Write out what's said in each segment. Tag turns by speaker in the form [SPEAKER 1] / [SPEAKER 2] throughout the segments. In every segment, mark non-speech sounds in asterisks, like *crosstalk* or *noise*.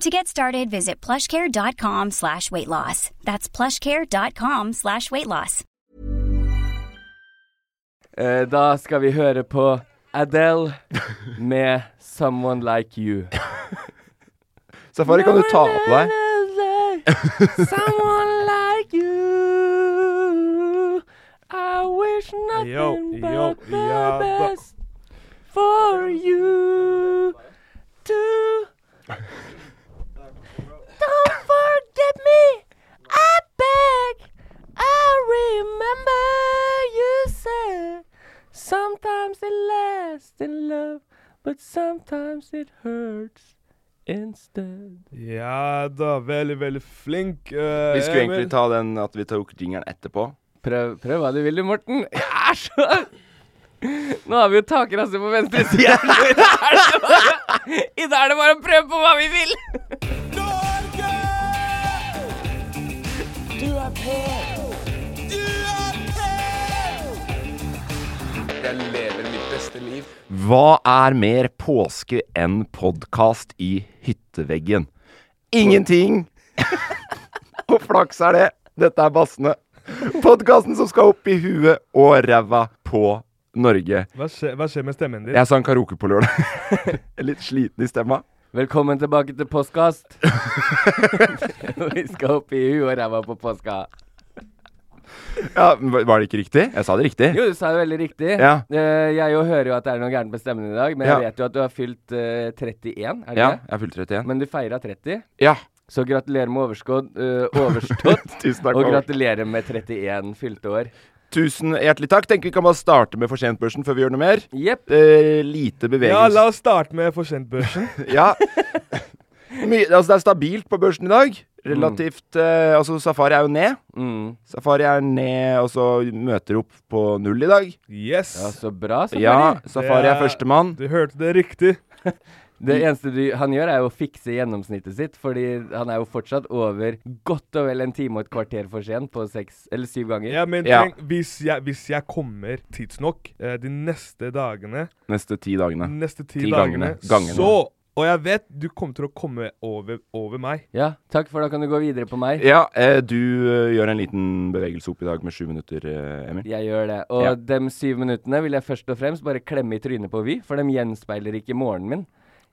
[SPEAKER 1] To get started, visit plushcare.com slash weight loss. That's plushcare.com slash weight loss.
[SPEAKER 2] Eh, da skal vi høre på Adele med 'Someone Like You'.
[SPEAKER 3] *laughs* Safari, kan du ta opp deg?
[SPEAKER 2] *laughs* Someone like you. I wish
[SPEAKER 3] Yo,
[SPEAKER 2] nothing
[SPEAKER 3] yo,
[SPEAKER 2] but
[SPEAKER 3] ja
[SPEAKER 2] the
[SPEAKER 3] da.
[SPEAKER 2] best for you to Don't forget me. I beg. I remember you said sometimes it lasts in love, but sometimes it hurts instead.
[SPEAKER 4] Ja da, veldig, veldig flink. eh,
[SPEAKER 3] Vi skulle
[SPEAKER 4] Emil.
[SPEAKER 3] egentlig ta den at vi tok jingeren etterpå.
[SPEAKER 2] Prøv, prøv hva du vil, du, Morten. Jeg er så Nå har vi jo takrasse på venstre *laughs* side. I dag er det bare å prøve på hva vi vil.
[SPEAKER 3] Hva er mer påske enn podkast i hytteveggen? Ingenting! *laughs* og flaks er det. Dette er Bassene. Podkasten som skal opp i huet og ræva på Norge.
[SPEAKER 4] Hva skjer, hva skjer med stemmen din?
[SPEAKER 3] Jeg sang karaoke på lørdag. *laughs* Litt sliten i stemma.
[SPEAKER 2] Velkommen tilbake til
[SPEAKER 3] *laughs*
[SPEAKER 2] postkast. *laughs* vi skal opp i huet og ræva på påska.
[SPEAKER 3] Ja, men Var det ikke riktig? Jeg sa det riktig.
[SPEAKER 2] Jo, du sa det veldig riktig.
[SPEAKER 3] Ja.
[SPEAKER 2] Eh, jeg jo hører jo at det er noe gærent med stemmen i dag, men
[SPEAKER 3] Ja.
[SPEAKER 2] jeg vet jo at du har fylt eh, 31, er det
[SPEAKER 3] Ja,
[SPEAKER 2] det?
[SPEAKER 3] jeg er fullt 31.
[SPEAKER 2] Men du feira 30,
[SPEAKER 3] Ja.
[SPEAKER 2] så gratulerer med overskudd. eh,
[SPEAKER 3] *laughs*
[SPEAKER 2] overstått.
[SPEAKER 3] Tusen takk.
[SPEAKER 2] og
[SPEAKER 3] Over.
[SPEAKER 2] gratulerer med 31 fylte år.
[SPEAKER 3] Tusen hjertelig takk. Tenker vi kan bare starte med For sent-børsen før vi gjør noe mer.
[SPEAKER 2] Jepp.
[SPEAKER 3] Eh, lite bevegelse.
[SPEAKER 4] Ja, la oss starte med
[SPEAKER 3] *laughs*
[SPEAKER 4] forsent-børsen.
[SPEAKER 3] Ja. My, altså det er stabilt på børsen i dag. Relativt eh, Altså, Safari er jo ned.
[SPEAKER 2] Mm.
[SPEAKER 3] Safari er ned, og så møter opp på null i dag.
[SPEAKER 4] Yes.
[SPEAKER 2] Ja, så bra, Safari.
[SPEAKER 3] Ja, Safari er
[SPEAKER 4] Det er-
[SPEAKER 3] førstemann.
[SPEAKER 4] Du hørte det riktig.
[SPEAKER 2] Det eneste du, han gjør, er jo å fikse gjennomsnittet sitt, fordi han er jo fortsatt over godt og vel en time og et kvarter for sent på seks eller syv ganger.
[SPEAKER 4] Ja, men
[SPEAKER 3] Ja.
[SPEAKER 4] tenk, hvis, jeg, hvis jeg kommer tidsnok eh, de neste dagene,
[SPEAKER 3] Neste ti dagene.
[SPEAKER 4] neste ti,
[SPEAKER 3] Ti
[SPEAKER 4] dagene,
[SPEAKER 3] gangene, gangene.
[SPEAKER 4] så Og jeg vet du kommer til å komme over, over meg.
[SPEAKER 2] Ja, takk, for da kan du gå videre på meg.
[SPEAKER 3] Ja, eh, du eh, gjør en liten bevegelse opp i dag med sju minutter, eh, Emil.
[SPEAKER 2] Jeg gjør det. Og
[SPEAKER 3] Ja.
[SPEAKER 2] de syv minuttene vil jeg først og fremst bare klemme i trynet på Vy, for de gjenspeiler ikke morgenen min.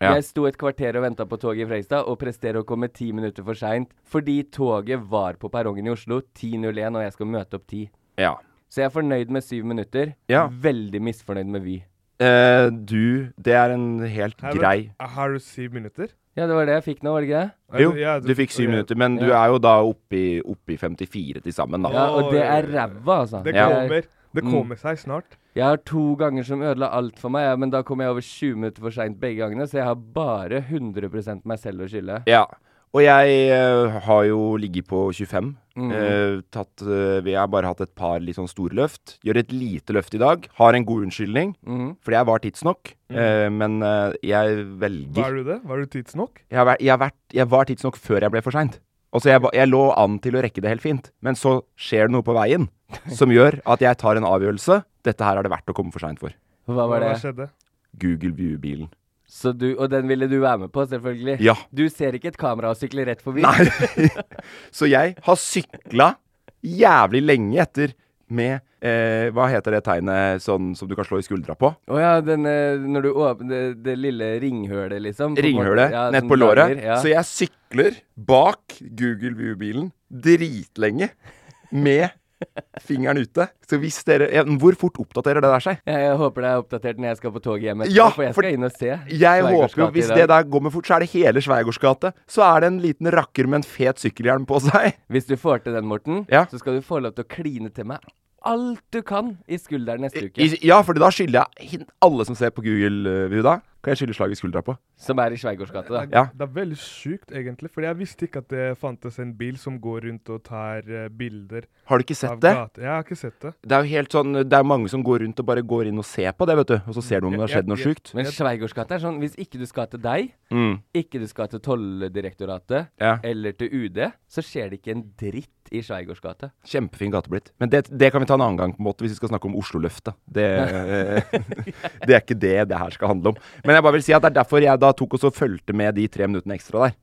[SPEAKER 3] Ja.
[SPEAKER 2] Jeg sto et kvarter og venta på toget i Fredrikstad, og presterer å komme ti minutter for seint fordi toget var på perrongen i Oslo 10.01, og jeg skal møte opp 10.
[SPEAKER 3] Ja.
[SPEAKER 2] Så jeg er fornøyd med syv minutter.
[SPEAKER 3] Ja.
[SPEAKER 2] Veldig misfornøyd med Vy.
[SPEAKER 3] Eh, du Det er en helt
[SPEAKER 4] Har du-
[SPEAKER 3] grei
[SPEAKER 4] Har du syv minutter?
[SPEAKER 2] Ja, det var det jeg fikk nå, var det ikke det?
[SPEAKER 3] Jo,
[SPEAKER 4] Ja,
[SPEAKER 3] du fikk syv
[SPEAKER 4] ok.
[SPEAKER 3] minutter, men du
[SPEAKER 2] Ja.
[SPEAKER 3] er jo da oppe i, oppe i 54 til sammen, da.
[SPEAKER 2] Ja, og det er
[SPEAKER 4] Oi.
[SPEAKER 2] ræva, altså.
[SPEAKER 4] Det
[SPEAKER 3] Ja.
[SPEAKER 4] kommer. Det
[SPEAKER 2] Mm.
[SPEAKER 4] kommer seg snart.
[SPEAKER 2] Jeg har to ganger som ødela alt for meg, ja, men da kom jeg over 20 minutter for seint begge gangene, så jeg har bare 100 meg selv å skylde.
[SPEAKER 3] Ja. Og jeg eh, har jo ligget på 25.
[SPEAKER 4] Mm.
[SPEAKER 3] Eh, tatt, eh, vi har bare hatt et par litt sånn store løft. Gjør et lite løft i dag. Har en god unnskyldning,
[SPEAKER 4] Mm.
[SPEAKER 2] Mhm.
[SPEAKER 3] fordi jeg var tidsnok. Eh, men eh, jeg velger
[SPEAKER 4] Var du Mm. det? Var du tidsnok?
[SPEAKER 3] jeg, har vært, jeg, har vært, jeg var tidsnok før jeg ble for seint. Altså, jeg, ba- jeg lå an til å rekke det helt fint, men så skjer det noe på
[SPEAKER 4] *laughs*
[SPEAKER 3] veien som gjør at jeg tar en avgjørelse. Dette her er det verdt å komme for seint for.
[SPEAKER 2] Hva var
[SPEAKER 4] Hva
[SPEAKER 2] det?
[SPEAKER 4] skjedde?
[SPEAKER 3] Google View-bilen.
[SPEAKER 2] Så du, og den ville du være med på, selvfølgelig?
[SPEAKER 3] Ja.
[SPEAKER 2] Du ser ikke et kamera og sykler rett forbi?
[SPEAKER 3] Nei. *laughs* Så jeg har sykla jævlig lenge etter med eh, Hva heter det tegnet sånn som du kan slå i skuldra på?
[SPEAKER 2] Å ja, den, eh, når du åpner det, det lille ringhølet, liksom. på
[SPEAKER 3] Ringhølet
[SPEAKER 2] morgenen.
[SPEAKER 3] nett
[SPEAKER 2] som
[SPEAKER 3] på låret.
[SPEAKER 2] dager, Ja.
[SPEAKER 3] Så jeg sykler bak Google View-bilen dritlenge med fingeren ute. Så hvis dere ja, Hvor fort oppdaterer det der seg?
[SPEAKER 2] Jeg, jeg håper det er oppdatert når jeg skal på toget hjem etterpå,
[SPEAKER 3] Ja,
[SPEAKER 2] for jeg
[SPEAKER 3] for-
[SPEAKER 2] skal inn og se.
[SPEAKER 3] Jeg håper jo,
[SPEAKER 2] Sveigårdsgata i
[SPEAKER 3] Hvis
[SPEAKER 2] dag.
[SPEAKER 3] det der går med fort, så er det hele Sveigårds gate. Så er det en liten rakker med en fet sykkelhjelm på seg.
[SPEAKER 2] Hvis du får til den, Morten,
[SPEAKER 3] Ja.
[SPEAKER 2] så skal du få lov til å kline til meg alt du kan i skulderen neste uke.
[SPEAKER 3] I, ja, for da skylder jeg hin- alle som ser på Google eh, View da, kan jeg skylde slag i skuldra på.
[SPEAKER 2] som er i Sveigårds gate, da.
[SPEAKER 3] Ja.
[SPEAKER 4] Det er veldig sjukt, egentlig. Fordi jeg visste ikke at det fantes en bil som går rundt og tar eh, bilder
[SPEAKER 3] Har du ikke sett
[SPEAKER 4] av
[SPEAKER 3] det?
[SPEAKER 4] gata. Jeg har ikke sett det.
[SPEAKER 3] Det er jo helt sånn, det er mange som går rundt og bare går inn og ser på det, vet du. Og så ser du om det har skjedd noe
[SPEAKER 4] Ja, ja, ja.
[SPEAKER 3] sjukt.
[SPEAKER 2] Men Sveigårds gate er sånn hvis ikke du skal til deg,
[SPEAKER 3] Mm.
[SPEAKER 2] ikke du skal til Tolldirektoratet
[SPEAKER 3] Ja.
[SPEAKER 2] eller til UD, så skjer det ikke en dritt i Sveigårds gate.
[SPEAKER 3] Kjempefin gate blitt. Men det, det kan vi ta en annen gang, på en måte, hvis vi skal snakke om Oslo-løftet. Det, eh, det *laughs* er ikke det det her skal handle om. Men jeg bare vil si at det er derfor jeg da tok og så fulgte med de tre minuttene ekstra der.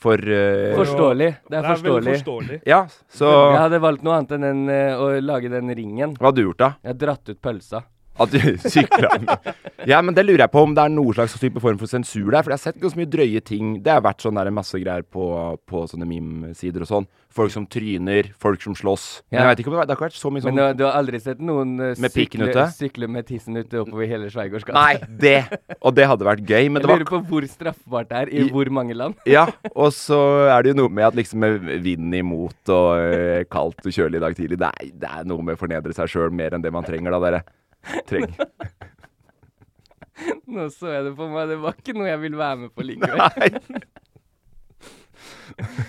[SPEAKER 3] For eh,
[SPEAKER 2] Forståelig. Det er
[SPEAKER 4] veldig
[SPEAKER 2] forståelig.
[SPEAKER 4] forståelig.
[SPEAKER 3] Ja, så
[SPEAKER 2] Jeg hadde valgt noe annet enn den, eh, å lage den ringen.
[SPEAKER 3] Hva har du gjort, da?
[SPEAKER 2] Jeg har dratt ut pølsa.
[SPEAKER 3] At du *laughs* sykla med Ja, men det lurer jeg på om det er noen slags type form for sensur der. For jeg har sett ganske mye drøye ting. Det har vært sånn der masse greier på, på sånne meme-sider og sånn. Folk som tryner, folk som slåss. Men
[SPEAKER 2] Ja.
[SPEAKER 3] jeg vet ikke om det, har- det har ikke vært så mye
[SPEAKER 2] Men
[SPEAKER 3] sånn
[SPEAKER 2] du, du har aldri sett noen eh,
[SPEAKER 3] Med pikken
[SPEAKER 2] sykle,
[SPEAKER 3] ute?
[SPEAKER 2] sykle med tissen ute oppover hele Sveigårds gate?
[SPEAKER 3] Nei, det! Og det hadde vært gøy, men
[SPEAKER 2] Jeg
[SPEAKER 3] det var
[SPEAKER 2] lurer på hvor straffbart det er i
[SPEAKER 3] I-
[SPEAKER 2] hvor mange land. *laughs*
[SPEAKER 3] Ja, og så er det jo noe med at liksom med vinden imot og eh, kaldt og kjølig i dag tidlig det er, det er noe med å fornedre seg sjøl mer enn det man trenger, da, dere. Treng.
[SPEAKER 2] Nå så jeg det på meg, det var ikke noe jeg ville være med på likevel.
[SPEAKER 3] Nei. *laughs*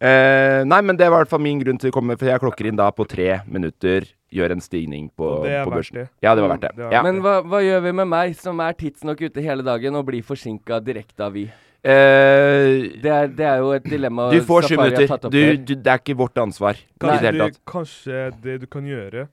[SPEAKER 3] Eh, nei, men det var i hvert fall min grunn til å komme, for jeg klokker inn da på tre minutter. Gjør en stigning på,
[SPEAKER 4] Og det er
[SPEAKER 3] på
[SPEAKER 4] verdt
[SPEAKER 3] børsen.
[SPEAKER 4] det.
[SPEAKER 3] Ja, det var verdt det.
[SPEAKER 4] Det var
[SPEAKER 3] ja.
[SPEAKER 4] verdt
[SPEAKER 2] Men hva, hva gjør vi med meg, som er tidsnok ute hele dagen og blir forsinka direkte av Vy?
[SPEAKER 3] Eh,
[SPEAKER 2] Det er, det er jo et dilemma
[SPEAKER 3] du får sju
[SPEAKER 2] Safari har
[SPEAKER 3] minutter.
[SPEAKER 2] tatt opp
[SPEAKER 3] Du,
[SPEAKER 2] her.
[SPEAKER 3] du, det er ikke vårt ansvar i det
[SPEAKER 4] Kanskje,
[SPEAKER 3] hele
[SPEAKER 4] du,
[SPEAKER 3] tatt.
[SPEAKER 4] kanskje det du kan gjøre,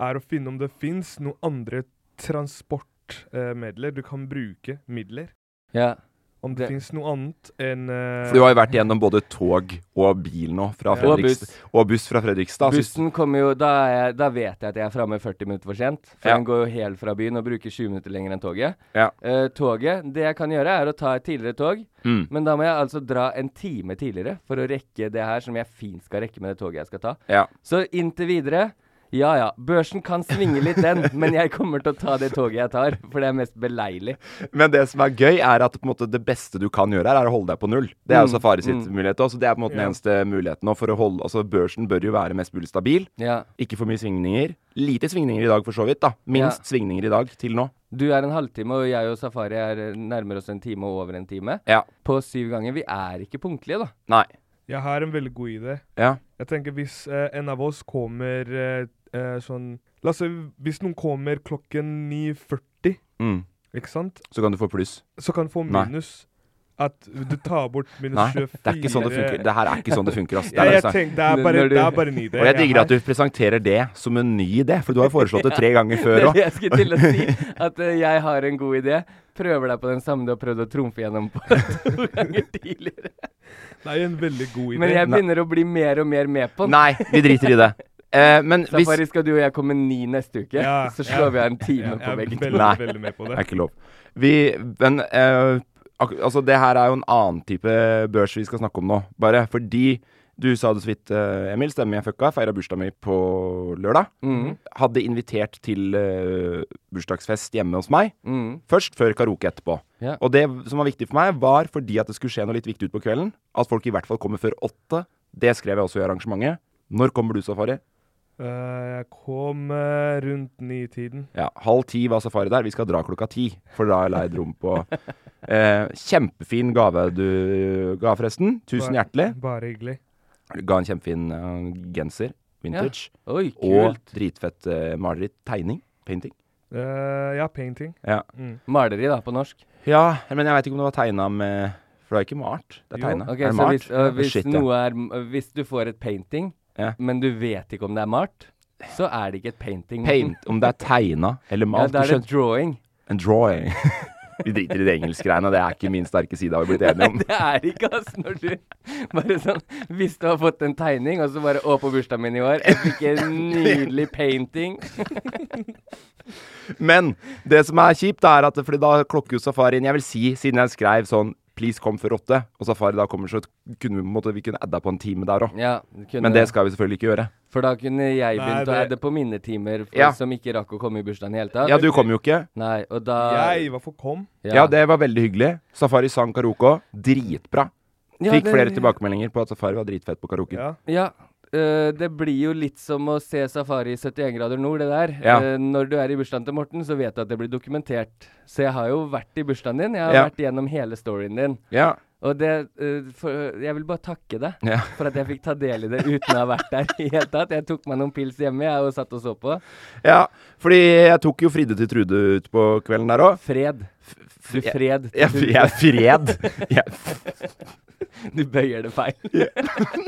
[SPEAKER 4] er å finne om det fins noen andre transportmidler du kan bruke. Midler.
[SPEAKER 2] Ja.
[SPEAKER 4] Om det,
[SPEAKER 2] Det-
[SPEAKER 4] finnes fins noe annet enn eh,
[SPEAKER 3] For du har jo vært igjennom både tog og bil nå, fra
[SPEAKER 4] Ja.
[SPEAKER 2] Og
[SPEAKER 3] Fredrikstad.
[SPEAKER 2] buss.
[SPEAKER 3] Og buss fra Fredrikstad. synes-
[SPEAKER 2] Bussen kommer jo da, er jeg, da vet jeg at jeg er framme 40 minutter for sent. For
[SPEAKER 3] Ja.
[SPEAKER 2] den går jo helt fra byen og bruker 20 minutter lenger enn toget.
[SPEAKER 3] Ja.
[SPEAKER 2] Eh, toget Det jeg kan gjøre, er å ta et tidligere tog,
[SPEAKER 3] Mm.
[SPEAKER 2] men da må jeg altså dra en time tidligere for å rekke det her som jeg fint skal rekke med det toget jeg skal ta.
[SPEAKER 3] Ja.
[SPEAKER 2] Så inntil videre ja ja, børsen kan svinge litt
[SPEAKER 3] *laughs*
[SPEAKER 2] den, men jeg kommer til å ta det toget jeg tar, for det er mest beleilig.
[SPEAKER 3] Men det som er gøy, er at på en måte, det beste du kan gjøre, her, er å holde deg på null. Det er jo
[SPEAKER 4] Mm.
[SPEAKER 3] Safari sitt mulighet også. Det er på en måte den eneste muligheten nå for å holde Altså, børsen bør jo være mest mulig stabil.
[SPEAKER 2] Ja.
[SPEAKER 3] Ikke for mye svingninger. Lite svingninger i dag, for så vidt, da. Minst svingninger i dag til nå.
[SPEAKER 2] Du er en halvtime, og jeg og Safari er eh, nærmer oss en time og over en time.
[SPEAKER 3] Ja.
[SPEAKER 2] På syv ganger. Vi er ikke punktlige, da.
[SPEAKER 3] Nei.
[SPEAKER 4] Jeg har en veldig god idé.
[SPEAKER 3] Ja.
[SPEAKER 4] Jeg tenker hvis eh, en av oss kommer eh, eh, sånn La oss si hvis noen kommer klokken 9.40,
[SPEAKER 3] Mm.
[SPEAKER 4] ikke sant,
[SPEAKER 3] Så kan du få pluss.
[SPEAKER 4] så kan du få
[SPEAKER 3] Nei.
[SPEAKER 4] minus. At du tar bort minus
[SPEAKER 3] Nei,
[SPEAKER 4] 24
[SPEAKER 3] det er ikke sånn det funker. Det her er ikke sånn det funker,
[SPEAKER 4] *laughs*
[SPEAKER 3] ass. Det
[SPEAKER 4] ja,
[SPEAKER 3] er det
[SPEAKER 4] jeg
[SPEAKER 3] som er-
[SPEAKER 4] tenkte, det er bare,
[SPEAKER 2] Når du-
[SPEAKER 4] det er bare en idé.
[SPEAKER 3] og jeg digger at du presenterer det som en ny idé, for du har jo foreslått det tre
[SPEAKER 4] *laughs*
[SPEAKER 2] *laughs*
[SPEAKER 3] ganger
[SPEAKER 2] Det
[SPEAKER 3] før
[SPEAKER 2] er
[SPEAKER 3] òg.
[SPEAKER 2] det jeg skulle til å si. At eh, jeg har en god idé. Prøver deg på den samme du har prøvd å trumfe gjennom på *laughs* to ganger tidligere.
[SPEAKER 4] Det er en veldig god idé.
[SPEAKER 2] Men jeg begynner å bli mer og mer med på den.
[SPEAKER 3] Nei, vi driter i det. Eh, men hvis
[SPEAKER 2] Safari, skal du og jeg komme ni neste uke,
[SPEAKER 4] Ja,
[SPEAKER 2] så slår
[SPEAKER 4] ja.
[SPEAKER 2] vi av en time
[SPEAKER 4] jeg
[SPEAKER 2] på
[SPEAKER 4] er
[SPEAKER 2] begge to.
[SPEAKER 4] veldig,
[SPEAKER 3] Nei.
[SPEAKER 4] veldig med på
[SPEAKER 3] Det
[SPEAKER 4] det.
[SPEAKER 3] er ikke lov. Vi, men eh, ak altså det her er jo en annen type børs vi skal snakke om nå. Bare fordi du sa det så vidt, eh, Emil, stemmer jeg fucka, feira bursdagen min på lørdag. Hadde invitert til eh, bursdagsfest hjemme hos meg
[SPEAKER 2] Mm.
[SPEAKER 3] først, før karaoke etterpå.
[SPEAKER 2] Ja.
[SPEAKER 3] Og det som var viktig for meg, var fordi at det skulle skje noe litt viktig utpå kvelden. At folk i hvert fall kommer før åtte. Det skrev jeg også i arrangementet. Når kommer du, Safari?
[SPEAKER 4] Eh, jeg kom eh, rundt ni-tiden.
[SPEAKER 3] Ja, halv ti var safari der. Vi skal dra klokka ti, for da er jeg leid rom på
[SPEAKER 2] *laughs*
[SPEAKER 3] eh, Kjempefin gave du ga, forresten. Tusen hjertelig.
[SPEAKER 4] Bare hyggelig.
[SPEAKER 3] Ga en kjempefin eh, genser. Vintage.
[SPEAKER 2] Oi,
[SPEAKER 3] og
[SPEAKER 2] kult.
[SPEAKER 3] dritfett eh, maleritt. Tegning. Painting.
[SPEAKER 4] Eh, ja, painting.
[SPEAKER 3] Ja.
[SPEAKER 2] Maleri, da, på norsk.
[SPEAKER 3] ja, men jeg veit ikke om det var tegna med For det er ikke malt. Det er
[SPEAKER 4] Jo.
[SPEAKER 3] tegna.
[SPEAKER 2] Ok,
[SPEAKER 3] er det
[SPEAKER 2] så
[SPEAKER 3] malt?
[SPEAKER 2] hvis, øh,
[SPEAKER 3] Ja,
[SPEAKER 2] hvis,
[SPEAKER 3] shit, ja.
[SPEAKER 2] noe er, øh, hvis du får et painting,
[SPEAKER 3] Ja.
[SPEAKER 2] men du vet ikke om det er malt, så er det ikke et painting.
[SPEAKER 3] Paint, om det er tegna eller
[SPEAKER 2] Ja,
[SPEAKER 3] malt.
[SPEAKER 2] da
[SPEAKER 3] du
[SPEAKER 2] er
[SPEAKER 3] skjønner.
[SPEAKER 2] det drawing.
[SPEAKER 3] En drawing. *laughs* Vi driter i det engelskgreiene, det er ikke min sterke side, har vi blitt enige om.
[SPEAKER 2] *laughs* Det er ikke ass, når du bare sånn Hvis du har fått en tegning, og så bare Å, på bursdagen min i år, jeg fikk en
[SPEAKER 3] *laughs*
[SPEAKER 2] nydelig painting.
[SPEAKER 3] Men det som er kjipt, er at fordi da klokker jo safarien Jeg vil si, siden jeg skrev sånn 'please kom før åtte', og safari da kommer, så kunne vi på en måte Vi kunne adda på en time der òg.
[SPEAKER 2] Ja, du kunne,
[SPEAKER 3] Men det skal vi selvfølgelig ikke gjøre.
[SPEAKER 2] For da kunne jeg
[SPEAKER 4] Nei,
[SPEAKER 2] begynt å
[SPEAKER 4] det-
[SPEAKER 2] adde på mine timer for,
[SPEAKER 3] Ja.
[SPEAKER 2] som ikke rakk å komme i bursdagen i hele tatt.
[SPEAKER 3] Ja, du kom jo ikke.
[SPEAKER 2] Nei, og da
[SPEAKER 4] Jeg, hvorfor kom?
[SPEAKER 2] ja.
[SPEAKER 3] Ja, det var veldig hyggelig. Safari sang karaoke òg. Dritbra.
[SPEAKER 2] Ja,
[SPEAKER 3] Fikk
[SPEAKER 2] det-
[SPEAKER 3] flere tilbakemeldinger på at Safari var dritfett på karaoke.
[SPEAKER 4] Ja.
[SPEAKER 2] Ja. øh, det blir jo litt som å se Safari i 71 grader nord, det der.
[SPEAKER 3] Ja.
[SPEAKER 2] Øh, når du er i bursdagen til Morten, så vet du at det blir dokumentert. Så jeg har jo vært i bursdagen din. Jeg har
[SPEAKER 3] Ja.
[SPEAKER 2] vært gjennom hele storyen din.
[SPEAKER 3] Ja.
[SPEAKER 2] Og det øh, for, Jeg vil bare takke deg.
[SPEAKER 3] ja.
[SPEAKER 2] for at jeg fikk ta del i det uten å ha vært der i hele tatt. Jeg tok meg noen pils hjemme jeg og satt og så på.
[SPEAKER 3] ja. Fordi jeg tok jo Fride til Trude ut på kvelden der òg.
[SPEAKER 2] Fred. Du fred.
[SPEAKER 3] Jeg,
[SPEAKER 2] Du,
[SPEAKER 3] jeg
[SPEAKER 2] *laughs*
[SPEAKER 3] fred. Jeg,
[SPEAKER 2] du bøyer det feil.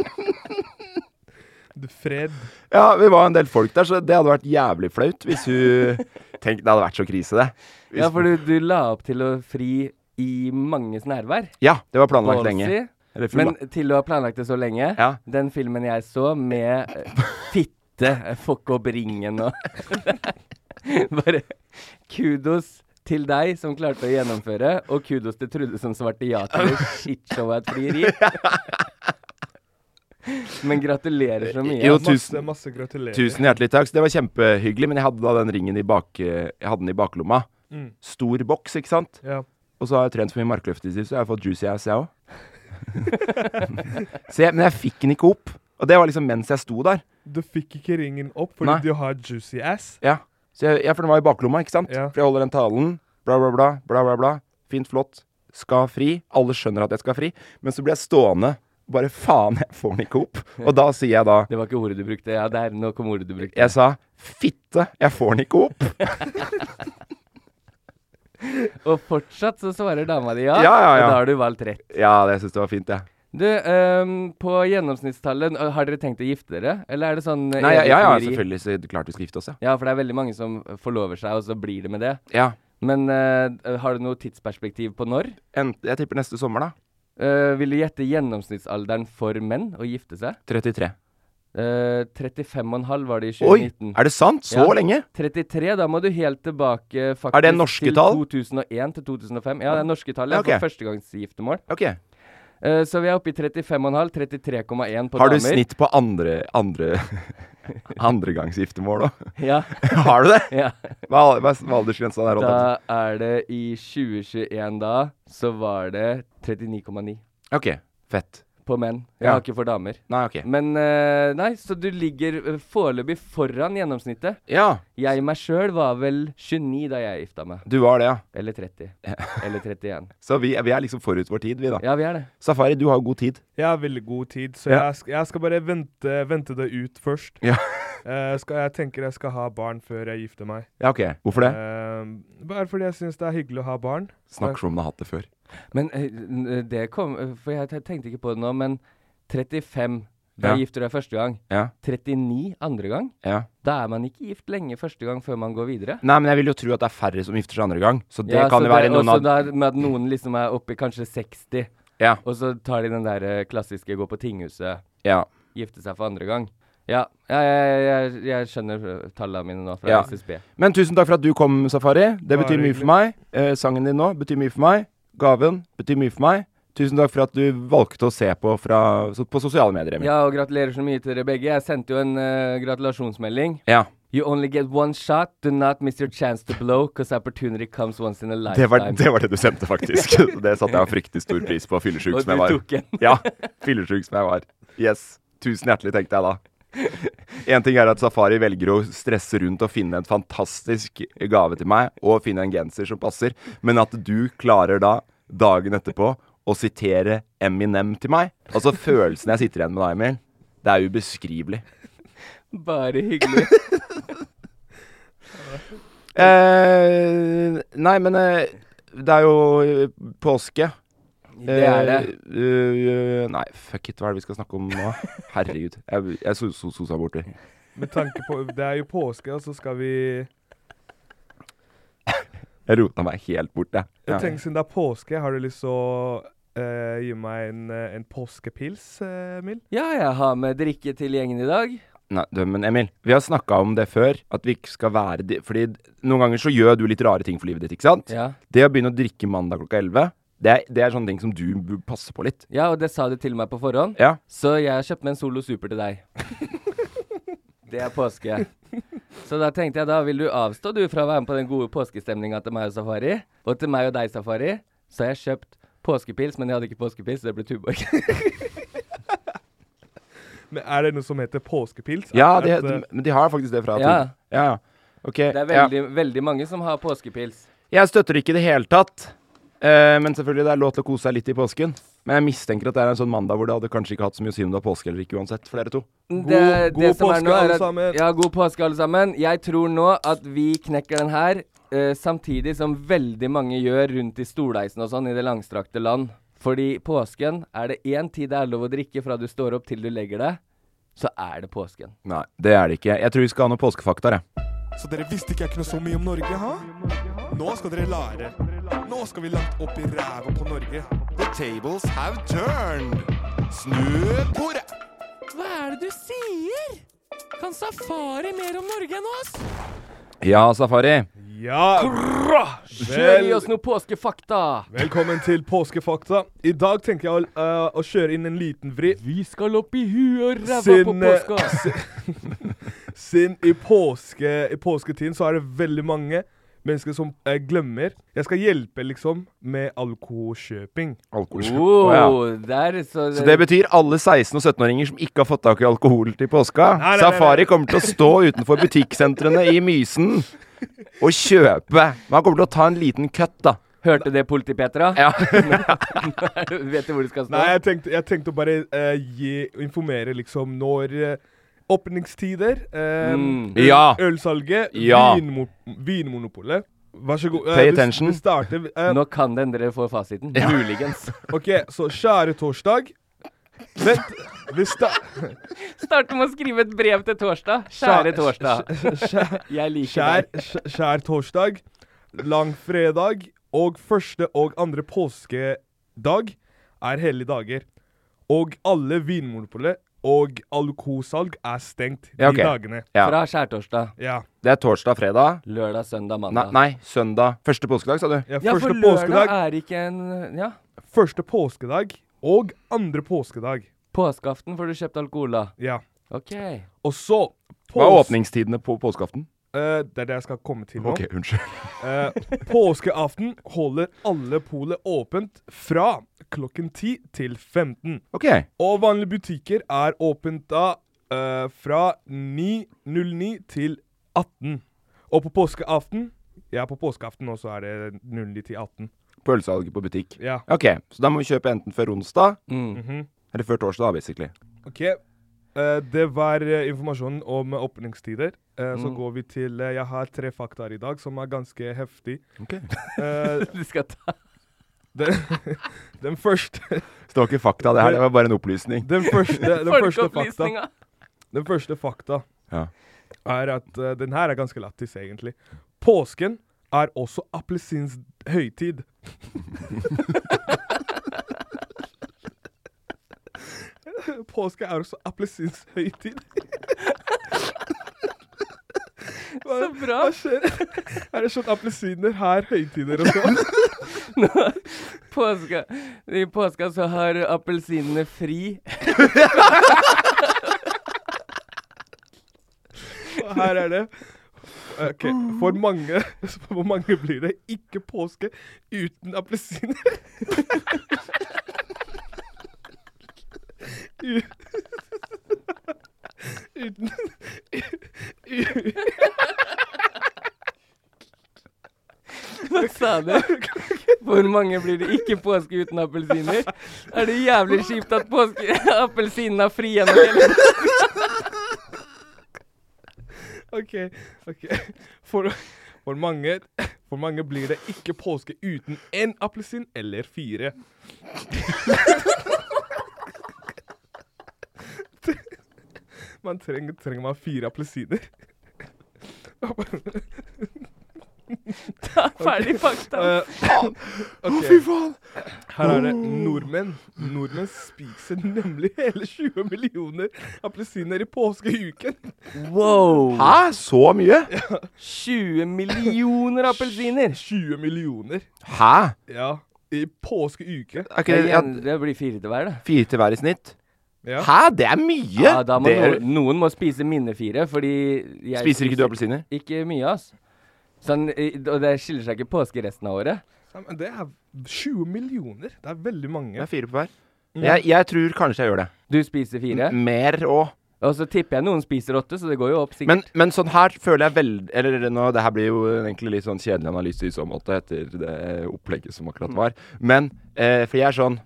[SPEAKER 4] Du fred.
[SPEAKER 3] ja, vi var en del folk der, så det hadde vært jævlig flaut hvis
[SPEAKER 2] *laughs*
[SPEAKER 3] hun Tenk, det hadde vært så krise, det. Hvis,
[SPEAKER 2] Ja, for du, du la opp til å fri i manges nærvær.
[SPEAKER 3] ja, det var planlagt lenge.
[SPEAKER 2] Ballsy.
[SPEAKER 3] Eller full,
[SPEAKER 2] Men
[SPEAKER 3] da.
[SPEAKER 2] til å ha planlagt det så lenge
[SPEAKER 3] Ja.
[SPEAKER 2] Den filmen jeg så med eh, fitte eh, Fuck opp ringen og *laughs* Bare kudos til deg som klarte å gjennomføre, og kudos til Trude som svarte ja til det shitshowet et
[SPEAKER 3] *laughs*
[SPEAKER 2] frieri. Men gratulerer så mye. altså.
[SPEAKER 3] Jo,
[SPEAKER 4] Masse,
[SPEAKER 3] tusen,
[SPEAKER 4] masse gratulerer.
[SPEAKER 3] tusen hjertelig takk. Så det var kjempehyggelig, men jeg hadde da den ringen i, bak, eh, jeg hadde den i baklomma.
[SPEAKER 4] Mm.
[SPEAKER 3] Stor boks, ikke sant?
[SPEAKER 4] Ja.
[SPEAKER 3] Og så har jeg trent for mye markløft i siden, så jeg har fått juicy
[SPEAKER 2] *laughs*
[SPEAKER 3] ass, *laughs* jeg òg. Så jeg- men jeg fikk den ikke opp. Og det var liksom mens jeg sto der.
[SPEAKER 4] Du fikk ikke ringen opp fordi
[SPEAKER 3] Nei.
[SPEAKER 4] du har juicy ass.
[SPEAKER 3] Ja, så jeg, ja for den var i baklomma, ikke sant?
[SPEAKER 4] Ja.
[SPEAKER 3] For jeg holder den talen. Bla, bla, bla. bla, bla, bla. Fint, flott. Skal fri. Alle skjønner at jeg skal fri. Men så blir jeg stående. Bare faen, jeg får den ikke opp. Og da sier jeg da
[SPEAKER 2] Det var ikke ordet du brukte. Ja, der, nå kom ordet du brukte.
[SPEAKER 3] Jeg sa fitte, jeg får den
[SPEAKER 2] *laughs*
[SPEAKER 3] ikke opp.
[SPEAKER 2] Og fortsatt så svarer dama di ja,
[SPEAKER 3] Ja, ja, ja.
[SPEAKER 2] og da har du valgt rett.
[SPEAKER 3] Ja, det syns jeg var fint, jeg.
[SPEAKER 2] Du, ehm, på gjennomsnittstallet, øh, har dere tenkt å gifte dere? Eller er det sånn eh,
[SPEAKER 3] Nei, ja,
[SPEAKER 2] evig
[SPEAKER 3] ja, ja
[SPEAKER 2] frieri?
[SPEAKER 3] selvfølgelig. Så det er klart vi skal gifte oss, ja.
[SPEAKER 2] Ja, for det er veldig mange som forlover seg, og så blir det med det.
[SPEAKER 3] ja.
[SPEAKER 2] Men eh, har du noe tidsperspektiv på når?
[SPEAKER 3] En, jeg tipper neste sommer, da.
[SPEAKER 2] Eh, vil du gjette gjennomsnittsalderen for menn å gifte seg?
[SPEAKER 3] 33.
[SPEAKER 2] Uh, 35,5 var det i
[SPEAKER 3] Oi!
[SPEAKER 2] 2019.
[SPEAKER 3] Er det sant? Så
[SPEAKER 2] Ja.
[SPEAKER 3] lenge?
[SPEAKER 2] 33, da må du helt tilbake faktisk
[SPEAKER 3] Er det norske
[SPEAKER 2] til
[SPEAKER 3] tall?
[SPEAKER 2] 2001 til 2005. Ja, det er norske tall. Ja,
[SPEAKER 3] Ja, ok.
[SPEAKER 2] For førstegangsgiftermål.
[SPEAKER 3] Ok.
[SPEAKER 2] Eh, så vi er oppe i 35,5, 33,1 på damer.
[SPEAKER 3] Har du snitt på andre andre *laughs*
[SPEAKER 2] *laughs*
[SPEAKER 3] andregangsgiftermål òg?
[SPEAKER 2] Ja.
[SPEAKER 3] Har du det?
[SPEAKER 2] ja.
[SPEAKER 3] Hva er al- hva er hva er aldersgrensa der? holdt jeg på å
[SPEAKER 2] Da er det i 2021, da, så var det 39,9
[SPEAKER 3] si? OK. Fett.
[SPEAKER 2] på menn. Jeg
[SPEAKER 3] Ja.
[SPEAKER 2] har ikke for damer.
[SPEAKER 3] Nei, OK.
[SPEAKER 2] Men eh, nei, så du ligger eh, foreløpig foran gjennomsnittet.
[SPEAKER 3] Ja,
[SPEAKER 2] Jeg meg sjøl var vel 29 da jeg gifta meg.
[SPEAKER 3] du var det, ja.
[SPEAKER 2] Eller 30. Eller 31. *laughs*
[SPEAKER 3] Så vi, vi er liksom forut vår tid, vi, da.
[SPEAKER 2] Ja, vi er det.
[SPEAKER 3] Safari, du har jo god tid.
[SPEAKER 4] Jeg har veldig god tid, så
[SPEAKER 3] Ja.
[SPEAKER 4] jeg, sk jeg skal bare vente, vente det ut først.
[SPEAKER 3] Ja.
[SPEAKER 4] Eh, skal, jeg tenker jeg skal ha barn før jeg gifter meg.
[SPEAKER 3] Ja, OK. Hvorfor det?
[SPEAKER 4] Eh, bare fordi jeg syns det er hyggelig å ha barn.
[SPEAKER 3] Snakk som om du har hatt det før.
[SPEAKER 2] Men eh, n- eh, det kom eh, For jeg te- tenkte ikke på det nå, men 35 da
[SPEAKER 3] Ja.
[SPEAKER 2] gifter du deg første gang.
[SPEAKER 3] Ja.
[SPEAKER 2] 39 andre gang.
[SPEAKER 3] ja.
[SPEAKER 2] Da er man ikke gift lenge første gang før man går videre.
[SPEAKER 3] Nei, men jeg vil jo tro at det er færre som gifter seg andre gang, så det
[SPEAKER 2] Ja,
[SPEAKER 3] kan
[SPEAKER 2] så
[SPEAKER 3] jo være noen
[SPEAKER 2] også
[SPEAKER 3] av
[SPEAKER 2] der med at noen liksom er oppe i kanskje 60,
[SPEAKER 3] Ja.
[SPEAKER 2] og så tar de den der eh, klassiske gå på tinghuset,
[SPEAKER 3] ja.
[SPEAKER 2] gifte seg for andre gang. Ja, ja jeg, jeg, jeg skjønner eh, tallene mine nå fra
[SPEAKER 3] Ja. Mm.
[SPEAKER 2] SSB.
[SPEAKER 3] Men tusen takk for at du kom, Safari. Det
[SPEAKER 4] Bare
[SPEAKER 3] betyr mye for meg. Eh, sangen din nå betyr mye for meg. Gaven betyr mye for meg. Tusen takk for at du valgte å se på fra, så- på sosiale medier. Emil.
[SPEAKER 2] Ja, og gratulerer så mye til dere begge. Jeg sendte jo en eh, gratulasjonsmelding.
[SPEAKER 3] ja.
[SPEAKER 2] You only get one shot, do not miss your chance to blow, cause opportunity comes once in a lifetime.
[SPEAKER 3] Det var, det var det du sendte,
[SPEAKER 2] *laughs*
[SPEAKER 3] faktisk. det satte jeg fryktelig stor pris på. Fyllesyk
[SPEAKER 2] Og
[SPEAKER 3] som jeg
[SPEAKER 2] du
[SPEAKER 3] var.
[SPEAKER 2] tok en.
[SPEAKER 3] ja, fyllesyk som jeg var. Yes. Tusen hjertelig, tenkte jeg da. Én ting er at Safari velger å stresse rundt og finne en fantastisk gave til meg, og finne en genser som passer, men at du klarer da, dagen etterpå, å sitere Eminem til meg Altså følelsen jeg sitter igjen med da, Emil, det er ubeskrivelig.
[SPEAKER 2] Bare
[SPEAKER 3] *laughs*
[SPEAKER 2] hyggelig.
[SPEAKER 3] Eh, nei, men eh, det er jo eh, påske.
[SPEAKER 2] Det er det.
[SPEAKER 3] Eh, eh, nei, fuck it, hva er det vi skal snakke om nå? Herregud. Jeg, jeg so- so- sosa borti.
[SPEAKER 4] *laughs* Med tanke på Det er jo påske, og så skal vi
[SPEAKER 3] Jeg rota meg helt bort, jeg.
[SPEAKER 4] Jeg
[SPEAKER 3] Ja.
[SPEAKER 4] tenker Siden det er påske, har du lyst til å eh, gi meg en, eh, en påskepils, eh, Emil?
[SPEAKER 2] Ja, jeg har med drikke til gjengen i dag.
[SPEAKER 3] Nei, du, men Emil, vi har snakka om det før, at vi ikke skal være de, Fordi noen ganger så gjør du litt rare ting for livet ditt, ikke sant?
[SPEAKER 2] Ja.
[SPEAKER 3] Det å begynne å drikke mandag klokka 11, det er, det er sånne ting som du bør passe på litt.
[SPEAKER 2] ja, og det sa du til meg på forhånd.
[SPEAKER 3] Ja.
[SPEAKER 2] Så jeg har kjøpt med en Solo Super til deg. *laughs* Det er påske. Så da tenkte jeg, da vil du avstå du fra å være med på den gode påskestemninga til meg og Safari. Og til meg og deg, Safari, så har jeg kjøpt påskepils, men jeg hadde ikke påskepils, så det ble Tuborg. *laughs*
[SPEAKER 4] Men Er det noe som heter påskepils?
[SPEAKER 3] Ja, de,
[SPEAKER 4] Er eh, det-
[SPEAKER 3] de, men de har faktisk det fra
[SPEAKER 2] Ja.
[SPEAKER 3] Tor. Ja, ja. Ok.
[SPEAKER 2] Det er
[SPEAKER 3] ja.
[SPEAKER 2] veldig, veldig mange som har påskepils.
[SPEAKER 3] Jeg støtter det ikke i det hele tatt. Eh, men selvfølgelig, det er lov til å kose seg litt i påsken. Men jeg mistenker at det er en sånn mandag hvor det hadde kanskje ikke hatt så mye å si om det er påske eller ikke uansett, for dere to.
[SPEAKER 2] Det-
[SPEAKER 4] god
[SPEAKER 2] det som er
[SPEAKER 4] påske,
[SPEAKER 2] nå er
[SPEAKER 4] alle
[SPEAKER 2] at-
[SPEAKER 4] sammen.
[SPEAKER 2] Ja, god påske, alle sammen. Jeg tror nå at vi knekker den her, eh, samtidig som veldig mange gjør rundt i stoleisen og sånn i det langstrakte land. Fordi påsken er det én tid det er lov å drikke fra du står opp til du legger deg, så er det påsken.
[SPEAKER 3] Nei, det er det ikke. Jeg tror vi skal ha noen påskefakta, jeg.
[SPEAKER 5] Så dere visste ikke jeg kunne så mye om Norge, ha? Nå skal dere lære. Nå skal vi langt opp i ræva på Norge. The tables have turned. Snu bordet.
[SPEAKER 2] Hva er det du sier? Kan Safari mer om Norge enn oss?
[SPEAKER 3] Ja, Safari.
[SPEAKER 4] Ja!
[SPEAKER 2] Kjør i oss noe påskefakta!
[SPEAKER 4] Velkommen til Påskefakta. I dag tenker jeg å, eh, å kjøre inn en liten vri.
[SPEAKER 2] Vi skal opp i huet og ræva på
[SPEAKER 4] Sin, eh,
[SPEAKER 2] påska.
[SPEAKER 4] *laughs* Siden i, påske, i påsketiden så er det veldig mange mennesker som eh, glemmer. Jeg skal hjelpe, liksom, med alkoholkjøping.
[SPEAKER 3] Alkohol. Å, ja.
[SPEAKER 2] Oh, der, så,
[SPEAKER 3] Så det betyr alle 16- og 17-åringer som ikke har fått tak i alkohol til påska.
[SPEAKER 4] Nei, nei, nei,
[SPEAKER 3] Safari
[SPEAKER 4] nei.
[SPEAKER 3] kommer til å stå utenfor butikksentrene i Mysen og kjøpe. Men han kommer til å ta en liten cut, da.
[SPEAKER 2] Hørte det politi, Petra?
[SPEAKER 3] Ja.
[SPEAKER 2] *laughs* Vet du hvor du skal stå?
[SPEAKER 4] Nei, jeg tenkte, jeg tenkte å bare eh, gi, informere, liksom, når eh, Åpningstider. eh,
[SPEAKER 2] Mm.
[SPEAKER 4] øl-
[SPEAKER 3] Ja.
[SPEAKER 4] Ølsalget.
[SPEAKER 3] Ja.
[SPEAKER 4] Vinmo vinmonopolet. Vær så god. eh,
[SPEAKER 3] Pay
[SPEAKER 4] vi s-
[SPEAKER 3] attention.
[SPEAKER 4] Vi starter eh,
[SPEAKER 2] Nå kan det endre for fasiten. Muligens.
[SPEAKER 4] OK, så skjære torsdag. Vent. Vi sta...
[SPEAKER 2] Starte med å skrive et brev til torsdag. Kjære torsdag.
[SPEAKER 4] Skjær,
[SPEAKER 2] Jeg liker
[SPEAKER 4] skjær,
[SPEAKER 2] deg.
[SPEAKER 4] skjær torsdag, langfredag og første og andre påskedag er hellige dager. Og alle vinmonopolet og alkoholsalg er stengt de
[SPEAKER 3] Ja, ok.
[SPEAKER 4] dagene.
[SPEAKER 2] Fra
[SPEAKER 3] ja.
[SPEAKER 2] skjærtorsdag,
[SPEAKER 4] Ja.
[SPEAKER 3] Det er torsdag, fredag.
[SPEAKER 2] lørdag, søndag,
[SPEAKER 3] Nei,
[SPEAKER 2] mandag.
[SPEAKER 3] nei, søndag. Første påskedag, sa du.
[SPEAKER 4] ja,
[SPEAKER 2] Ja,
[SPEAKER 4] første
[SPEAKER 2] for lørdag
[SPEAKER 4] påskedag,
[SPEAKER 2] er ikke en Ja.
[SPEAKER 4] første påskedag og andre påskedag.
[SPEAKER 2] Påskeaften får du kjøpt alkohol da.
[SPEAKER 4] Ja.
[SPEAKER 2] OK.
[SPEAKER 4] Og så
[SPEAKER 3] Hva er
[SPEAKER 4] pås-
[SPEAKER 3] åpningstidene på påskeaften?
[SPEAKER 4] Eh, det er det jeg skal komme til nå.
[SPEAKER 3] Ok, unnskyld.
[SPEAKER 4] Eh, påskeaften holder alle polet åpent fra klokken 10 til 15.
[SPEAKER 3] Ok.
[SPEAKER 4] Og vanlige butikker er åpent da eh, fra 9.09 til 18. Og på påskeaften Ja, på påskeaften nå så er det 09 til 18.
[SPEAKER 3] Pølsealget på butikk.
[SPEAKER 4] Ja.
[SPEAKER 3] Ok, så da må vi kjøpe enten før onsdag
[SPEAKER 2] Mm.
[SPEAKER 4] Mhm.
[SPEAKER 3] eller før torsdag, da, basically.
[SPEAKER 4] OK. Eh, det var eh, informasjonen om åpningstider. Eh, Så går vi til eh, Jeg har tre faktaer i dag som er ganske heftig.
[SPEAKER 3] *laughs*
[SPEAKER 4] Eh,
[SPEAKER 2] Du skal ta
[SPEAKER 4] den, den første
[SPEAKER 3] Så det var ikke fakta, det her. Det var bare en opplysning.
[SPEAKER 4] Den første, den første fakta
[SPEAKER 2] folkeopplysninga.
[SPEAKER 4] Den første fakta
[SPEAKER 3] Ja.
[SPEAKER 4] er at eh, den her er ganske lættis, egentlig. Påsken er også appelsins høytid. *laughs* Påske er også appelsins høytid. Hva,
[SPEAKER 2] Så bra.
[SPEAKER 4] hva skjer? Er det sånn appelsiner her, høytider og sånn?
[SPEAKER 2] Påska. I påska så har appelsinene fri.
[SPEAKER 4] *laughs* Og Her er det Ok, For mange *laughs* For mange blir det ikke påske uten appelsiner. *laughs* U- Uten u-
[SPEAKER 2] Hva sa du? Hvor mange blir det ikke påske uten appelsiner? Er det jævlig kjipt at påske appelsinene har fri gjennom hele
[SPEAKER 4] OK. ok For, for mange For mange blir det ikke påske uten én appelsin eller fire. *laughs* Man trenger, trenger man fire appelsiner?
[SPEAKER 6] Da er ferdig fakta.
[SPEAKER 4] Eh, ok.
[SPEAKER 3] faen!
[SPEAKER 4] Her er det nordmenn. Nordmenn spiser nemlig hele 20 millioner appelsiner i påskeuken.
[SPEAKER 2] Wow!
[SPEAKER 3] Hæ? Så mye?
[SPEAKER 2] 20 millioner appelsiner!
[SPEAKER 4] 20 millioner,
[SPEAKER 3] Hæ?
[SPEAKER 4] ja. I påskeuke.
[SPEAKER 3] Er ikke
[SPEAKER 2] Det,
[SPEAKER 3] det ja,
[SPEAKER 2] igjen- det blir fire til hver, da.
[SPEAKER 3] Fire til hver i snitt?
[SPEAKER 4] Ja.
[SPEAKER 3] Hæ? Det er mye!
[SPEAKER 2] Ja, da må
[SPEAKER 3] det er,
[SPEAKER 2] noen, noen må spise mine fire, fordi jeg
[SPEAKER 3] spiser ikke du appelsiner?
[SPEAKER 2] Ikke mye, ass. Sånn, i- og det skiller seg ikke påske resten av året.
[SPEAKER 4] Ja, men det er 20 millioner. Det er veldig
[SPEAKER 3] Det
[SPEAKER 4] mange.
[SPEAKER 3] er fire på hver. Jeg, jeg tror kanskje jeg gjør det.
[SPEAKER 2] Du spiser fire,
[SPEAKER 3] Mer òg.
[SPEAKER 2] og så tipper jeg noen spiser åtte, så det går jo opp sikkert.
[SPEAKER 3] Men, men sånn her føler jeg vel Eller nå, det her blir jo egentlig litt sånn kjedelig analyse i så måte, etter det opplegget som akkurat var. Men eh, For jeg er sånn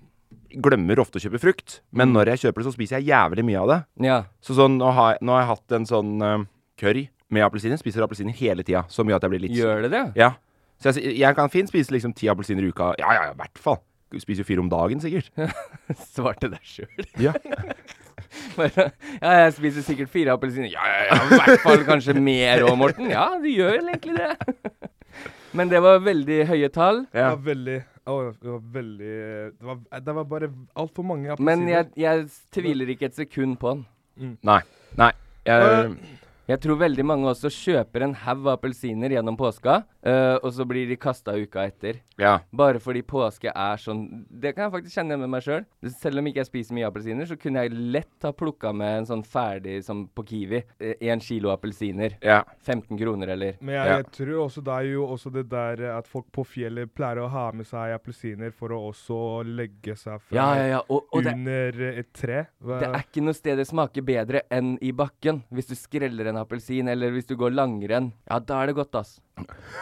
[SPEAKER 3] Glemmer ofte å kjøpe frukt, men
[SPEAKER 2] Mm.
[SPEAKER 3] når jeg kjøper det, så spiser jeg jævlig mye av det.
[SPEAKER 2] ja.
[SPEAKER 3] Så sånn, nå har jeg, nå har jeg hatt en sånn eh, curry med appelsiner. Spiser appelsiner hele tida. Så mye at jeg blir litt
[SPEAKER 2] Gjør det det?
[SPEAKER 3] Ja. Så jeg, s- jeg kan fint spise liksom ti appelsiner i uka. Ja, ja, ja, i hvert fall. Du Spiser jo fire om dagen, sikkert.
[SPEAKER 2] Svarte deg sjøl. *laughs*
[SPEAKER 3] Ja.
[SPEAKER 2] Bare, ja, jeg spiser sikkert fire appelsiner. Ja, ja, ja, i hvert fall kanskje mer òg, Morten. Ja, du gjør vel egentlig det. Men det var veldig høye tall.
[SPEAKER 4] Det var veldig å, det var veldig Det var, det var bare altfor
[SPEAKER 2] Men
[SPEAKER 4] mange appelsiner.
[SPEAKER 2] jeg, jeg tviler ikke et sekund på den.
[SPEAKER 3] Nei. Nei. Jeg,
[SPEAKER 2] Jeg tror veldig mange også kjøper en haug av appelsiner gjennom påska, eh, og så blir de kasta uka etter.
[SPEAKER 3] ja.
[SPEAKER 2] Bare fordi påske er sånn Det kan jeg faktisk kjenne med meg sjøl. Selv om ikke jeg spiser mye appelsiner, så kunne jeg lett ha plukka med en sånn ferdig som på Kiwi. Én kilo appelsiner.
[SPEAKER 3] Ja.
[SPEAKER 2] 15 kroner, eller?
[SPEAKER 4] Men jeg,
[SPEAKER 3] Ja.
[SPEAKER 4] jeg tror også det er jo også det der eh, at folk på fjellet pleier å ha med seg appelsiner for å også legge seg fra
[SPEAKER 2] Ja, ja, ja. Og, og det,
[SPEAKER 4] under eh, et tre. Hva-
[SPEAKER 2] det er ikke noe sted det smaker bedre enn i bakken. Hvis du skreller en appelsin, eller hvis du går langrenn. Ja, da er det godt, ass.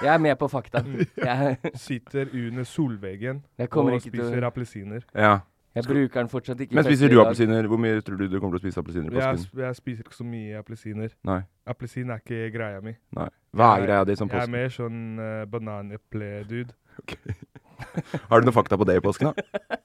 [SPEAKER 2] Jeg er med på
[SPEAKER 3] *laughs*
[SPEAKER 2] fakta. Jeg,
[SPEAKER 4] Sitter under solveggen
[SPEAKER 2] Jeg kommer
[SPEAKER 4] og
[SPEAKER 2] ikke til å-
[SPEAKER 4] spiser appelsiner.
[SPEAKER 3] ja.
[SPEAKER 2] jeg bruker den fortsatt ikke.
[SPEAKER 3] Men
[SPEAKER 2] første
[SPEAKER 3] spiser
[SPEAKER 2] i
[SPEAKER 3] du
[SPEAKER 2] dag.
[SPEAKER 3] appelsiner? Hvor mye tror du du kommer til å spise appelsiner i
[SPEAKER 4] Jeg,
[SPEAKER 3] påsken?
[SPEAKER 4] sp- jeg spiser ikke så mye appelsiner.
[SPEAKER 3] Nei.
[SPEAKER 4] Appelsin er ikke greia mi.
[SPEAKER 3] Nei. Hva er greia di som
[SPEAKER 4] Jeg er
[SPEAKER 3] påsken? *laughs*
[SPEAKER 4] mer sånn uh, bananeple-dude.
[SPEAKER 3] Har du noen fakta på det i påsken, da?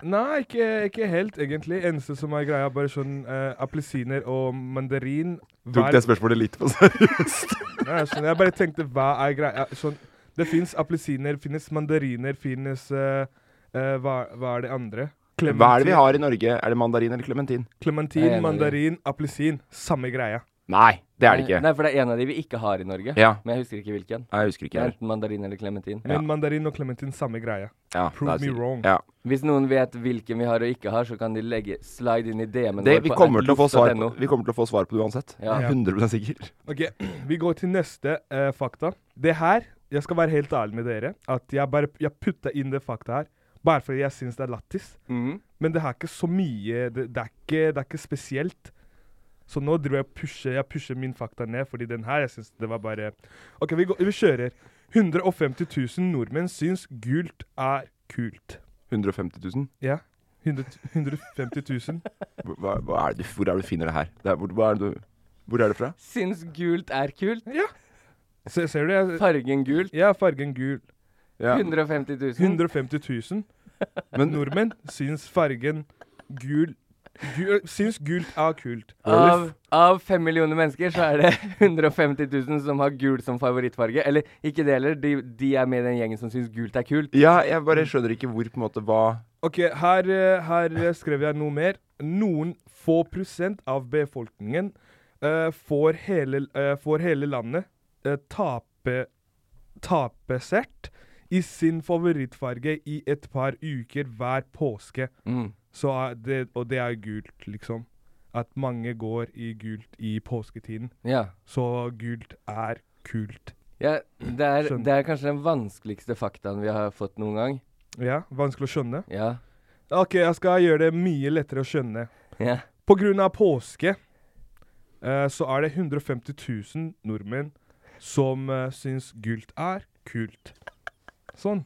[SPEAKER 4] Nei, ikke, ikke helt, egentlig. Eneste som er greia, er bare sånn eh, appelsiner og mandarin.
[SPEAKER 3] Tok
[SPEAKER 4] Hver-
[SPEAKER 3] det spørsmålet litt på seriøst?
[SPEAKER 4] Nei, sånn, jeg bare tenkte hva er greia sånn, Det fins appelsiner, finnes mandariner, finnes eh, eh, hva, hva er det andre?
[SPEAKER 3] Hva er det vi har i Norge? Er det mandarin eller klementin?
[SPEAKER 4] Klementin,
[SPEAKER 2] Jeg er enig i det.
[SPEAKER 4] mandarin, appelsin. Samme greia.
[SPEAKER 3] Nei, det er det ikke.
[SPEAKER 2] Nei, for det er en av de vi ikke har i Norge.
[SPEAKER 3] Ja.
[SPEAKER 2] Men jeg husker ikke hvilken.
[SPEAKER 3] Nei, Jeg husker
[SPEAKER 2] Det
[SPEAKER 3] ikke.
[SPEAKER 2] er
[SPEAKER 3] helt.
[SPEAKER 2] enten mandarin eller klementin.
[SPEAKER 4] Men mandarin og klementin, samme greia.
[SPEAKER 3] Ja,
[SPEAKER 4] Prove
[SPEAKER 3] det er-
[SPEAKER 4] me wrong.
[SPEAKER 3] Ja.
[SPEAKER 2] Hvis noen vet hvilken vi har og ikke har, så kan de legge slide inn i DM-en
[SPEAKER 3] Det, vi, kommer til å få svar på,
[SPEAKER 2] @loft.no.
[SPEAKER 3] vi kommer til å få svar på det uansett.
[SPEAKER 2] Ja.
[SPEAKER 3] Jeg er 100 sikker.
[SPEAKER 4] Ok, Vi går til neste eh, fakta. Det her Jeg skal være helt ærlig med dere. At jeg bare jeg putta inn det fakta her bare fordi jeg syns det er lættis.
[SPEAKER 2] Mhm.
[SPEAKER 4] Men det her er ikke så mye det, det, er ikke, det er ikke spesielt. Så nå driver jeg og pusher, jeg pusher min fakta ned, fordi den her jeg synes det var bare OK, vi, går, vi kjører. 150 000 nordmenn syns gult er kult.
[SPEAKER 3] 150 000?
[SPEAKER 4] Ja. 100, 150 000.
[SPEAKER 3] Hva, hva er det, du- hvor er det du finner det her? Det er, hvor, hva er det, du- hvor er det fra?
[SPEAKER 2] Syns gult er kult.
[SPEAKER 4] Se, ser du det?
[SPEAKER 2] Fargen gult.
[SPEAKER 4] Ja, fargen gul.
[SPEAKER 3] Ja.
[SPEAKER 2] 150 000.
[SPEAKER 4] 150 000
[SPEAKER 3] Men-
[SPEAKER 4] nordmenn syns fargen gul, gul Syns gult er kult.
[SPEAKER 2] Av, av fem millioner mennesker så er det *laughs* 150 000 som har gul som favorittfarge. Eller ikke det heller, de, de er med i den gjengen som syns gult er kult.
[SPEAKER 3] ja, jeg bare skjønner ikke hvor på en måte hva
[SPEAKER 4] Ok, her, eh, her eh, skrev jeg noe mer. Noen få prosent av befolkningen eh, får, hele, eh, får hele landet eh, tape tapesert i sin favorittfarge i et par uker hver påske.
[SPEAKER 2] Mm.
[SPEAKER 4] Så er det, og det er gult, liksom. At mange går i gult i påsketiden.
[SPEAKER 2] Ja.
[SPEAKER 4] Så gult er kult.
[SPEAKER 2] ja det, er,
[SPEAKER 4] Skjønner.
[SPEAKER 2] det er kanskje den vanskeligste faktaen vi har fått noen gang.
[SPEAKER 4] Ja, vanskelig å skjønne.
[SPEAKER 2] Ja.
[SPEAKER 4] Ok, jeg skal gjøre det mye lettere å skjønne.
[SPEAKER 2] ja.
[SPEAKER 4] På grunn av påske eh, så er det 150 000 nordmenn som eh, syns gult er kult. Sånn.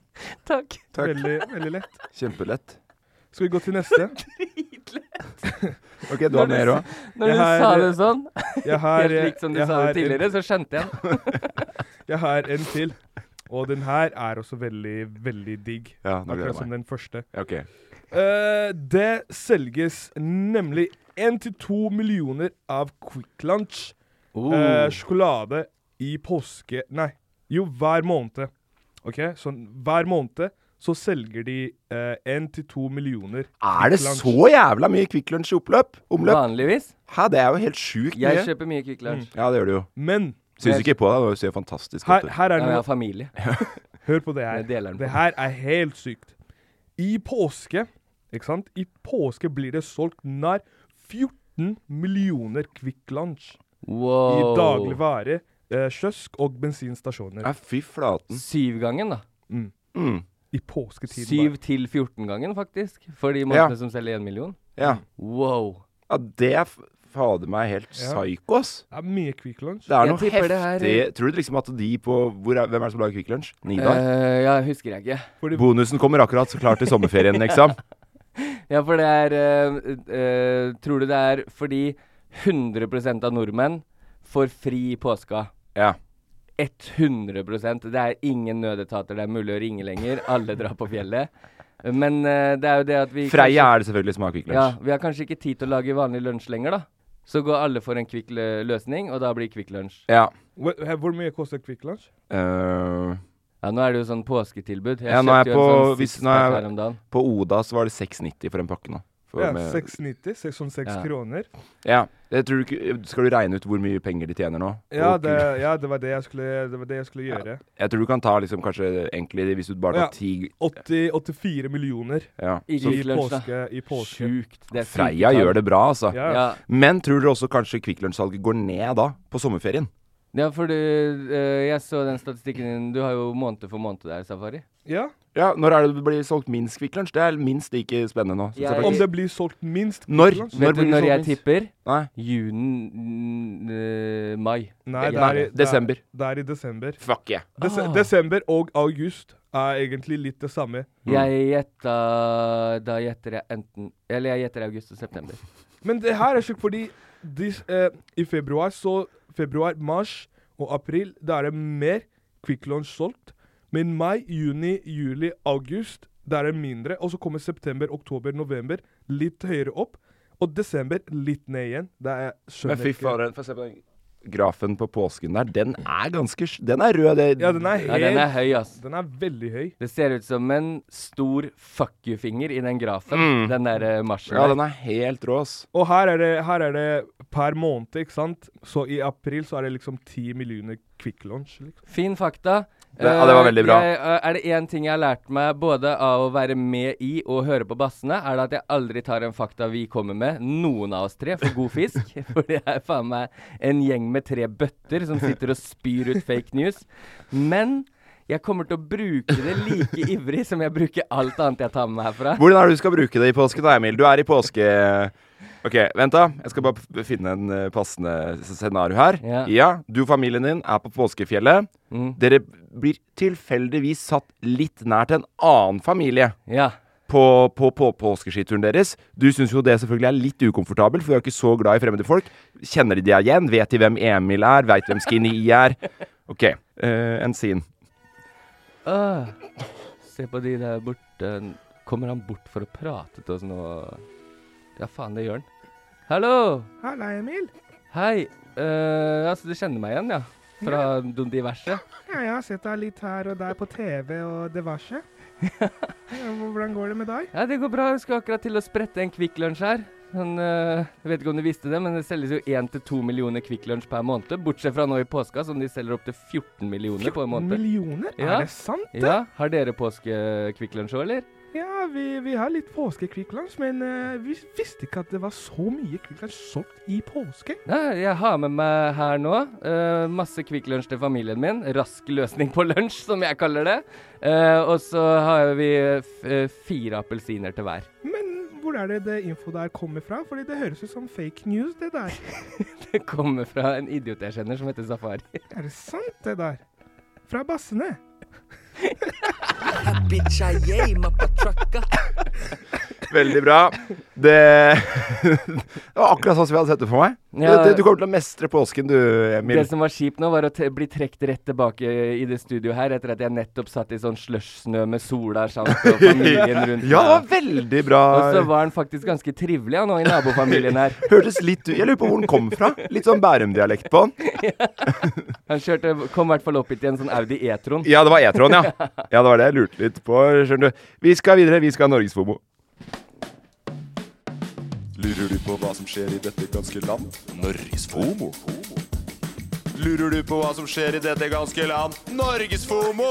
[SPEAKER 6] Takk.
[SPEAKER 4] Veldig, veldig lett.
[SPEAKER 3] Kjempelett.
[SPEAKER 4] Skal vi gå til neste?
[SPEAKER 3] OK, du har mer òg?
[SPEAKER 2] Når du
[SPEAKER 4] Jeg har-
[SPEAKER 2] sa det sånn,
[SPEAKER 4] Jeg har,
[SPEAKER 2] helt
[SPEAKER 4] eh,
[SPEAKER 2] likt som du
[SPEAKER 4] jeg
[SPEAKER 2] sa
[SPEAKER 4] har
[SPEAKER 2] det tidligere,
[SPEAKER 4] En,
[SPEAKER 2] så skjønte jeg den.
[SPEAKER 4] jeg har en til. Og den her er også veldig, veldig digg.
[SPEAKER 3] Ja, nå gleder jeg
[SPEAKER 4] Akkurat som
[SPEAKER 3] meg.
[SPEAKER 4] den første.
[SPEAKER 3] Ja, Ok.
[SPEAKER 4] Eh, det selges nemlig 1-2 millioner av Quick Lunch
[SPEAKER 3] Oh.
[SPEAKER 4] eh, sjokolade i påske... Nei, jo, hver måned. OK? Så hver måned så selger de eh, 1-2 millioner.
[SPEAKER 3] Er det
[SPEAKER 4] Quick Lunch.
[SPEAKER 3] så jævla mye Kvikk Lunsj i oppløp? Omløp?
[SPEAKER 2] Vanligvis.
[SPEAKER 3] Hæ, det er jo helt sjukt
[SPEAKER 2] Jeg
[SPEAKER 3] mye.
[SPEAKER 2] kjøper mye Kvikk Lunsj.
[SPEAKER 3] Ja, det gjør du jo.
[SPEAKER 4] Men
[SPEAKER 3] Syns ikke på deg, du ser fantastisk
[SPEAKER 4] her,
[SPEAKER 3] godt ut.
[SPEAKER 4] her er
[SPEAKER 2] Ja, jeg har
[SPEAKER 4] noe
[SPEAKER 2] familie.
[SPEAKER 4] Hør på det her.
[SPEAKER 2] Jeg deler den på
[SPEAKER 4] Det her er helt sykt. I påske, ikke sant? I påske blir det solgt nær 14 millioner Kvikk Lunsj i
[SPEAKER 2] Wow.
[SPEAKER 4] dagligvare, eh, kiosk og bensinstasjoner.
[SPEAKER 3] Ja, fy flaten.
[SPEAKER 2] Syvgangen, da.
[SPEAKER 3] Mm.
[SPEAKER 4] I påsketiden.
[SPEAKER 2] Syv til 14-gangen, faktisk. For de
[SPEAKER 3] Ja.
[SPEAKER 2] månedene som selger én million.
[SPEAKER 3] Ja.
[SPEAKER 2] Wow.
[SPEAKER 3] ja, det er f- fader meg helt psyko, ass.
[SPEAKER 4] Det er mye Kvikk Lunsj.
[SPEAKER 3] Det er
[SPEAKER 2] Jeg
[SPEAKER 3] noe
[SPEAKER 2] tipper det
[SPEAKER 3] heftig
[SPEAKER 2] er-
[SPEAKER 3] Tror du liksom at de på hvor er, Hvem er det som lager Kvikk Lunsj? Nidar?
[SPEAKER 2] Eh, ja, husker jeg ikke.
[SPEAKER 3] Bonusen kommer akkurat så klart til sommerferien, liksom.
[SPEAKER 2] Ja, for det er eh, eh, Tror du det er fordi 100 av nordmenn får fri i påska?
[SPEAKER 3] Ja.
[SPEAKER 2] 100 Det er ingen nødetater det er mulig å ringe lenger. Alle drar på fjellet. Men eh, det er jo det at vi
[SPEAKER 3] Freia er det selvfølgelig som har Kvikk
[SPEAKER 2] kanskje, ja,
[SPEAKER 3] Lunsj.
[SPEAKER 2] Vi har kanskje ikke tid til å lage vanlig lunsj lenger, da. Så går alle for en kvikk lø- løsning, og da blir kvikk lunsj.
[SPEAKER 3] Ja.
[SPEAKER 4] Hvor, eh, hvor mye koster Kvikk Lunsj?
[SPEAKER 3] Eh,
[SPEAKER 2] Ja, nå er det jo sånn påsketilbud. Jeg
[SPEAKER 3] Ja, nå er jeg
[SPEAKER 2] kjøpte jo en
[SPEAKER 3] på-
[SPEAKER 2] sånn
[SPEAKER 3] hvis- nå
[SPEAKER 2] sixpack
[SPEAKER 3] er jeg-
[SPEAKER 2] her om dagen.
[SPEAKER 3] på Oda så var det 6,90 for en pakke nå. For
[SPEAKER 4] Ja,
[SPEAKER 3] med-
[SPEAKER 4] 6,90? seks- Sånn 6
[SPEAKER 2] Ja.
[SPEAKER 4] kroner?
[SPEAKER 3] Ja. Jeg tror du, ikke- skal du regne ut hvor mye penger de tjener nå?
[SPEAKER 4] Ja
[SPEAKER 3] Og-
[SPEAKER 4] det, ja, det var det jeg skulle, det var det jeg skulle gjøre.
[SPEAKER 3] Jeg tror du kan ta liksom kanskje egentlig Hvis du bare
[SPEAKER 4] Ja.
[SPEAKER 3] tar ti
[SPEAKER 4] 80, 84 millioner
[SPEAKER 3] ja.
[SPEAKER 2] I
[SPEAKER 4] i
[SPEAKER 2] Kvikk Lunsj, da.
[SPEAKER 4] påske. I påske.
[SPEAKER 2] Sjukt. Det er
[SPEAKER 3] Freia gjør det bra, altså.
[SPEAKER 4] Ja.
[SPEAKER 2] Ja.
[SPEAKER 3] Men tror dere også kanskje Kvikk Lunsj-salget går ned da, på sommerferien?
[SPEAKER 2] ja, for du eh, Jeg så den statistikken din. Du har jo måned for måned der, Safari.
[SPEAKER 4] ja.
[SPEAKER 3] Ja, Når er det det blir solgt minst Kvikk Lunsj? Det er minst like spennende nå. synes jeg
[SPEAKER 2] Jeg-
[SPEAKER 3] faktisk.
[SPEAKER 4] Om det blir solgt minst Kvikk
[SPEAKER 3] Når?
[SPEAKER 4] Lunsj?
[SPEAKER 2] Vet du
[SPEAKER 3] blir det
[SPEAKER 2] når
[SPEAKER 3] sånn
[SPEAKER 2] jeg
[SPEAKER 3] minst?
[SPEAKER 2] tipper?
[SPEAKER 3] Nei.
[SPEAKER 2] Juni eh, Mai.
[SPEAKER 4] Nei, det
[SPEAKER 2] Nei,
[SPEAKER 4] er i, det er-
[SPEAKER 3] desember.
[SPEAKER 4] Det er i desember.
[SPEAKER 3] Fuck yeah.
[SPEAKER 4] Dese
[SPEAKER 2] Ah.
[SPEAKER 4] Desember og august er egentlig litt det samme.
[SPEAKER 3] Mm.
[SPEAKER 2] Jeg gjetta Da gjetter jeg enten Eller jeg gjetter august og september.
[SPEAKER 4] Men det her er sjukt, fordi de, s- eh, i februar, så Februar, mars og april, da er det mer Quick Launch solgt. Men mai, juni, juli, august, da er det mindre. Og så kommer september, oktober, november litt høyere opp. Og desember litt ned igjen. Det er
[SPEAKER 3] Men
[SPEAKER 4] skjønner
[SPEAKER 3] fy
[SPEAKER 4] ikke.
[SPEAKER 3] fader, få se på den grafen på påsken der. Den er ganske sj- Den er rød. Det,
[SPEAKER 4] Ja, den er
[SPEAKER 2] Ja, den er
[SPEAKER 4] helt
[SPEAKER 2] høy, ass.
[SPEAKER 4] Den er veldig høy.
[SPEAKER 2] Det ser ut som en stor fuck you-finger i den grafen. Den derre marsjen.
[SPEAKER 3] ja,
[SPEAKER 2] der.
[SPEAKER 3] den er helt rå, ass.
[SPEAKER 4] Og her er, det, her er det per måned, ikke sant? Så i april så er det liksom 10 millioner Quick Launch. Liksom.
[SPEAKER 2] Fin fakta.
[SPEAKER 3] Det- ja, det var
[SPEAKER 2] Eh,
[SPEAKER 3] veldig bra.
[SPEAKER 2] Jeg, eh, er det én ting jeg har lært meg både av å være med i og høre på bassene, er det at jeg aldri tar en fakta vi kommer med, noen av oss tre, for god fisk.
[SPEAKER 3] *laughs*
[SPEAKER 2] for det er faen meg en gjeng med tre bøtter som sitter og spyr ut fake news. Men jeg kommer til å bruke det like ivrig som jeg bruker alt annet jeg tar med meg herfra.
[SPEAKER 3] Hvordan er det du skal bruke det i påsken da, Emil? Du er i påske... Ok, vent da. Jeg skal bare f- finne en eh, passende s- scenario her.
[SPEAKER 2] Ja.
[SPEAKER 3] du og familien din er på påskefjellet. Dere blir tilfeldigvis satt litt nær til en annen familie
[SPEAKER 2] Ja.
[SPEAKER 3] på, på, på påskeskituren deres. Du syns jo det selvfølgelig er litt ukomfortabelt, for du er ikke så glad i fremmede folk. Kjenner de deg igjen? Vet de hvem Emil er? Veit de hvem Skinny E er? Ok, eh, en scene.
[SPEAKER 2] Åh, Øh. se på de der borte. Kommer han bort for å prate til oss nå? Ja, faen, det gjør han. Hallo!
[SPEAKER 4] Halla, Emil.
[SPEAKER 2] Hei. eh, altså, du kjenner meg igjen, ja? Fra de diverse?
[SPEAKER 4] Ja, jeg har sett deg litt her og der på TV og
[SPEAKER 2] *laughs*
[SPEAKER 4] diverse. Ja, Hvordan går det med deg?
[SPEAKER 2] Ja, det går bra. Jeg skal akkurat til å sprette en Kvikk Lunsj her. Men, eh, jeg vet ikke om du visste det, men det selges jo 1-2 millioner Kvikk Lunsj per måned. Bortsett fra nå i påska, som de selger opp til 14 millioner på en måned.
[SPEAKER 4] Millioner?
[SPEAKER 2] Ja.
[SPEAKER 4] Er det sant?
[SPEAKER 2] Ja, Har dere påske-Kvikk Lunsj òg, eller?
[SPEAKER 4] Ja, vi, vi har litt påske-Kvikk Lunsj, men eh, vi visste ikke at det var så mye Kvikk Lunsj solgt i påske.
[SPEAKER 2] Nei, jeg har med meg her nå eh, masse Kvikk Lunsj til familien min. Rask løsning på lunsj, som jeg kaller det. Eh, og så har vi eh, f eh, fire appelsiner til hver. *laughs*
[SPEAKER 4] Men hvor er det det info der kommer fra? Fordi det høres ut som fake news, det der.
[SPEAKER 2] Det kommer fra en idiot jeg kjenner som heter Safari.
[SPEAKER 4] Er det sant, det der? Fra bassene.
[SPEAKER 3] Veldig bra. Det, *laughs* det var akkurat sånn som jeg hadde sett det for meg.
[SPEAKER 2] Ja.
[SPEAKER 3] Du, du kommer til å mestre påsken, du, Emil.
[SPEAKER 2] Det som var kjipt nå, var å t bli trukket rett tilbake i det studioet her, etter at jeg nettopp satt i sånn slushsnø med sola sjant og familien
[SPEAKER 3] *laughs*
[SPEAKER 2] rundt
[SPEAKER 3] Ja, det var
[SPEAKER 2] meg.
[SPEAKER 3] veldig bra.
[SPEAKER 2] Og så var han faktisk ganske trivelig, han òg, i nabofamilien her.
[SPEAKER 3] Hørtes litt ut Jeg lurer på hvor den kom fra. Litt sånn Bærum-dialekt på den.
[SPEAKER 2] Han kjørte, kom i hvert fall opp hit i en sånn Audi E-tron.
[SPEAKER 3] Ja, det var E-tron, ja. Ja, det var det jeg lurte litt på, skjønner du. Vi skal videre. Vi skal ha Norgesfomo.
[SPEAKER 5] Lurer du på hva som skjer i dette ganske land? Norges FOMO. Lurer du på hva som skjer i dette ganske land? Norges FOMO!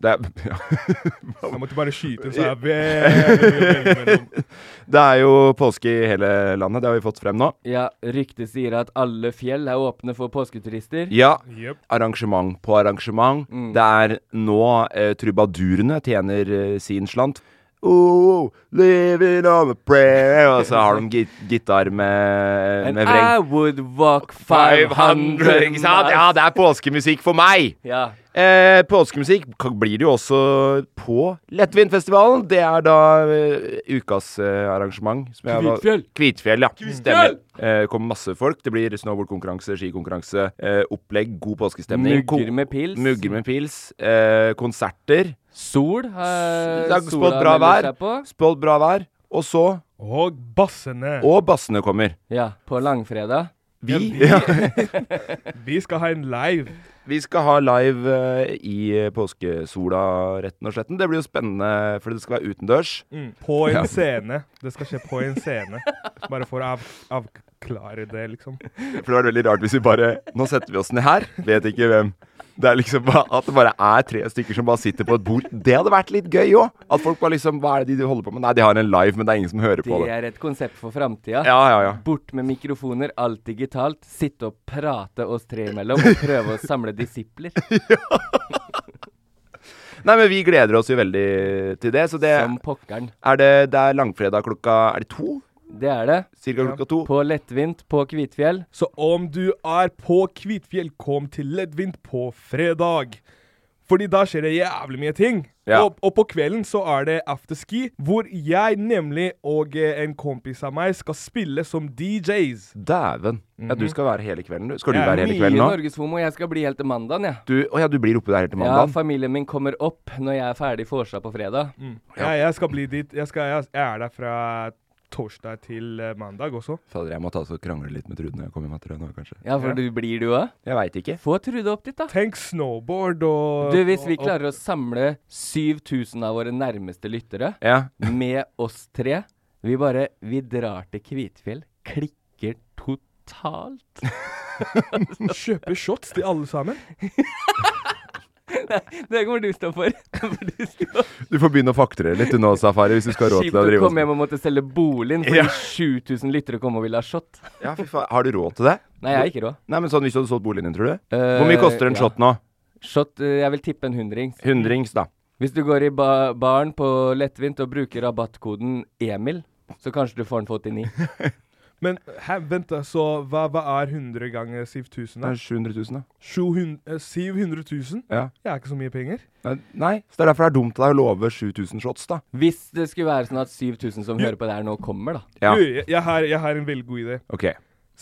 [SPEAKER 3] Det er, *laughs* ja.
[SPEAKER 4] Jeg måtte bare skyte inn, så
[SPEAKER 2] *laughs*
[SPEAKER 4] jeg er veldig mye å velge mellom.
[SPEAKER 3] det er jo påske i hele landet. Det har vi fått frem nå.
[SPEAKER 2] Ja, ryktet sier at alle fjell er åpne for påsketurister.
[SPEAKER 3] Ja. Mm.
[SPEAKER 4] Jep.
[SPEAKER 3] Arrangement på arrangement. Det er nå eh, trubadurene tjener eh, sin slant. Oh, living on a prayer Og så har de git gitar med,
[SPEAKER 2] And I
[SPEAKER 3] med vreng.
[SPEAKER 2] would walk 500
[SPEAKER 3] ikke sant? Ja, det er påskemusikk for meg!
[SPEAKER 2] ja.
[SPEAKER 3] Eh, påskemusikk k- blir det jo også på Lettvinfestivalen. Det er da eh, ukas eh, arrangement. som jeg var-
[SPEAKER 2] Kvitfjell.
[SPEAKER 3] Kvitfjell, ja. Stemmer. Eh, kommer masse folk. Det blir snowboardkonkurranse, skikonkurranse, eh, opplegg, god påskestemning. Ko-
[SPEAKER 2] Mugger med pils.
[SPEAKER 3] Mugger med pils. Eh, konserter.
[SPEAKER 2] Sol
[SPEAKER 3] Det
[SPEAKER 2] har
[SPEAKER 3] er spådd bra vær. Spådd bra vær. Og så
[SPEAKER 4] Og bassene.
[SPEAKER 3] Og bassene kommer.
[SPEAKER 2] Ja, på langfredag.
[SPEAKER 3] Vi,
[SPEAKER 4] *laughs* Vi skal ha en live.
[SPEAKER 3] vi skal ha live eh, i eh, påskesola, retten og sletten. Det blir jo spennende, for det skal være utendørs.
[SPEAKER 4] På en
[SPEAKER 3] Mm. Ja.
[SPEAKER 4] scene. Det skal skje på en scene. Bare for å av avklare det, liksom.
[SPEAKER 3] For det var veldig rart hvis vi bare Nå setter vi oss ned her, vet ikke hvem. Det er liksom bare, At det bare er tre stykker som bare sitter på et bord. Det hadde vært litt gøy òg. At folk bare liksom Hva er det de holder på med? Nei, de har en live, men det er ingen som hører på
[SPEAKER 2] Det
[SPEAKER 3] det.
[SPEAKER 2] er et konsept for framtida.
[SPEAKER 3] Ja, ja, ja.
[SPEAKER 2] Bort med mikrofoner, alt digitalt. Sitte og prate oss tre imellom. Og prøve å samle disipler.
[SPEAKER 3] Nei, men vi gleder oss jo veldig til det. Så *laughs* det
[SPEAKER 2] Som pokkeren.
[SPEAKER 3] er det, det er langfredag klokka Er det to?
[SPEAKER 2] Det er det.
[SPEAKER 3] Cirka klokka to.
[SPEAKER 2] På lettvint på Kvitfjell.
[SPEAKER 4] Så om du er på Kvitfjell, kom til Ledvint på fredag. Fordi da skjer det jævlig mye ting.
[SPEAKER 3] Ja.
[SPEAKER 4] Og, og på kvelden så er det afterski, hvor jeg nemlig og eh, en kompis av meg skal spille som DJs.
[SPEAKER 3] Dæven. Ja, du skal være hele kvelden, du. Skal du
[SPEAKER 4] Ja,
[SPEAKER 3] være hele
[SPEAKER 2] Mhm. Mye
[SPEAKER 3] kvelden nå?
[SPEAKER 2] Norgeshomo. Jeg skal bli helt til mandagen, jeg.
[SPEAKER 3] Du, å ja, du blir oppe der helt til
[SPEAKER 2] Ja,
[SPEAKER 3] mandag?
[SPEAKER 2] familien min kommer opp når jeg er ferdig vorsa på fredag.
[SPEAKER 4] Ja, jeg skal bli dit. Jeg, skal, jeg, jeg er der fra torsdag til eh, mandag også.
[SPEAKER 3] Fader, jeg må ta oss og krangle litt med Trude når jeg kommer hjem, tror jeg nå, kanskje.
[SPEAKER 2] Ja, for du blir du òg?
[SPEAKER 3] Jeg veit ikke.
[SPEAKER 2] Få Trude opp dit, da.
[SPEAKER 4] Tenk snowboard og
[SPEAKER 2] Du, hvis vi klarer å samle 7000 av våre nærmeste lyttere
[SPEAKER 3] Ja.
[SPEAKER 2] med oss tre Vi bare Vi drar til Kvitfjell. Klikker totalt.
[SPEAKER 4] *laughs* Kjøpe shots til alle sammen.
[SPEAKER 2] Nei, det kommer du stå for.
[SPEAKER 3] Du får begynne å fakturere litt du nå, Safari, hvis du skal ha råd
[SPEAKER 2] Kjipt
[SPEAKER 3] til å
[SPEAKER 2] å
[SPEAKER 3] drive
[SPEAKER 2] komme hjem og måtte selge boligen fordi
[SPEAKER 3] Ja.
[SPEAKER 2] 7000 lyttere kom og ville ha shot.
[SPEAKER 3] Ja, fy faen. Har du råd til det? Eh,
[SPEAKER 2] Nei, jeg har ikke råd. Eh,
[SPEAKER 3] Nei, men sånn hvis du hadde solgt boligen din, tror du? Hvor mye koster en
[SPEAKER 2] ja.
[SPEAKER 3] shot nå?
[SPEAKER 2] Shot, eh, jeg vil tippe en hundrings.
[SPEAKER 3] Hundrings, da.
[SPEAKER 2] Hvis du går i ba baren på lettvint og bruker rabattkoden EMIL, så kanskje du får den for 89.
[SPEAKER 4] Men hæ, vent, da, så hva, hva er 100 ganger 7000?
[SPEAKER 3] Det er 700 000, da.
[SPEAKER 4] 700 000?
[SPEAKER 3] Ja.
[SPEAKER 4] Det er ikke så mye penger.
[SPEAKER 3] Nei, Nei, så det er derfor det er dumt av deg å love 7000 shots, da.
[SPEAKER 2] Hvis det skulle være sånn at 7000 som hører på det her nå, kommer, da.
[SPEAKER 3] Ja.
[SPEAKER 4] Du, jeg, jeg, har, jeg har en veldig god idé.
[SPEAKER 3] OK.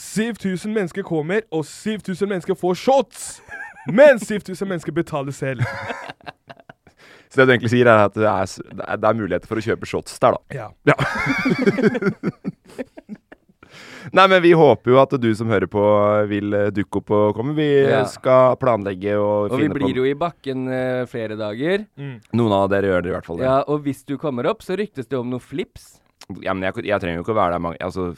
[SPEAKER 4] 7000 mennesker kommer, og 7000 mennesker får shots! Men 7000 mennesker betaler selv.
[SPEAKER 3] Så det du egentlig sier, er at det er, s- det er, det er muligheter for å kjøpe shots der, da.
[SPEAKER 4] Ja.
[SPEAKER 3] Nei, men vi håper jo at du som hører på, vil eh, dukke opp og komme. Vi eh,
[SPEAKER 2] Ja.
[SPEAKER 3] skal planlegge og,
[SPEAKER 2] Og vi
[SPEAKER 3] finne på
[SPEAKER 2] blir jo i bakken eh, flere dager.
[SPEAKER 3] Noen av dere gjør det i hvert fall. det.
[SPEAKER 2] Ja, og hvis du kommer opp, så ryktes det om noen flips.
[SPEAKER 3] Ja, men jeg, jeg trenger jo ikke å være der mange Altså,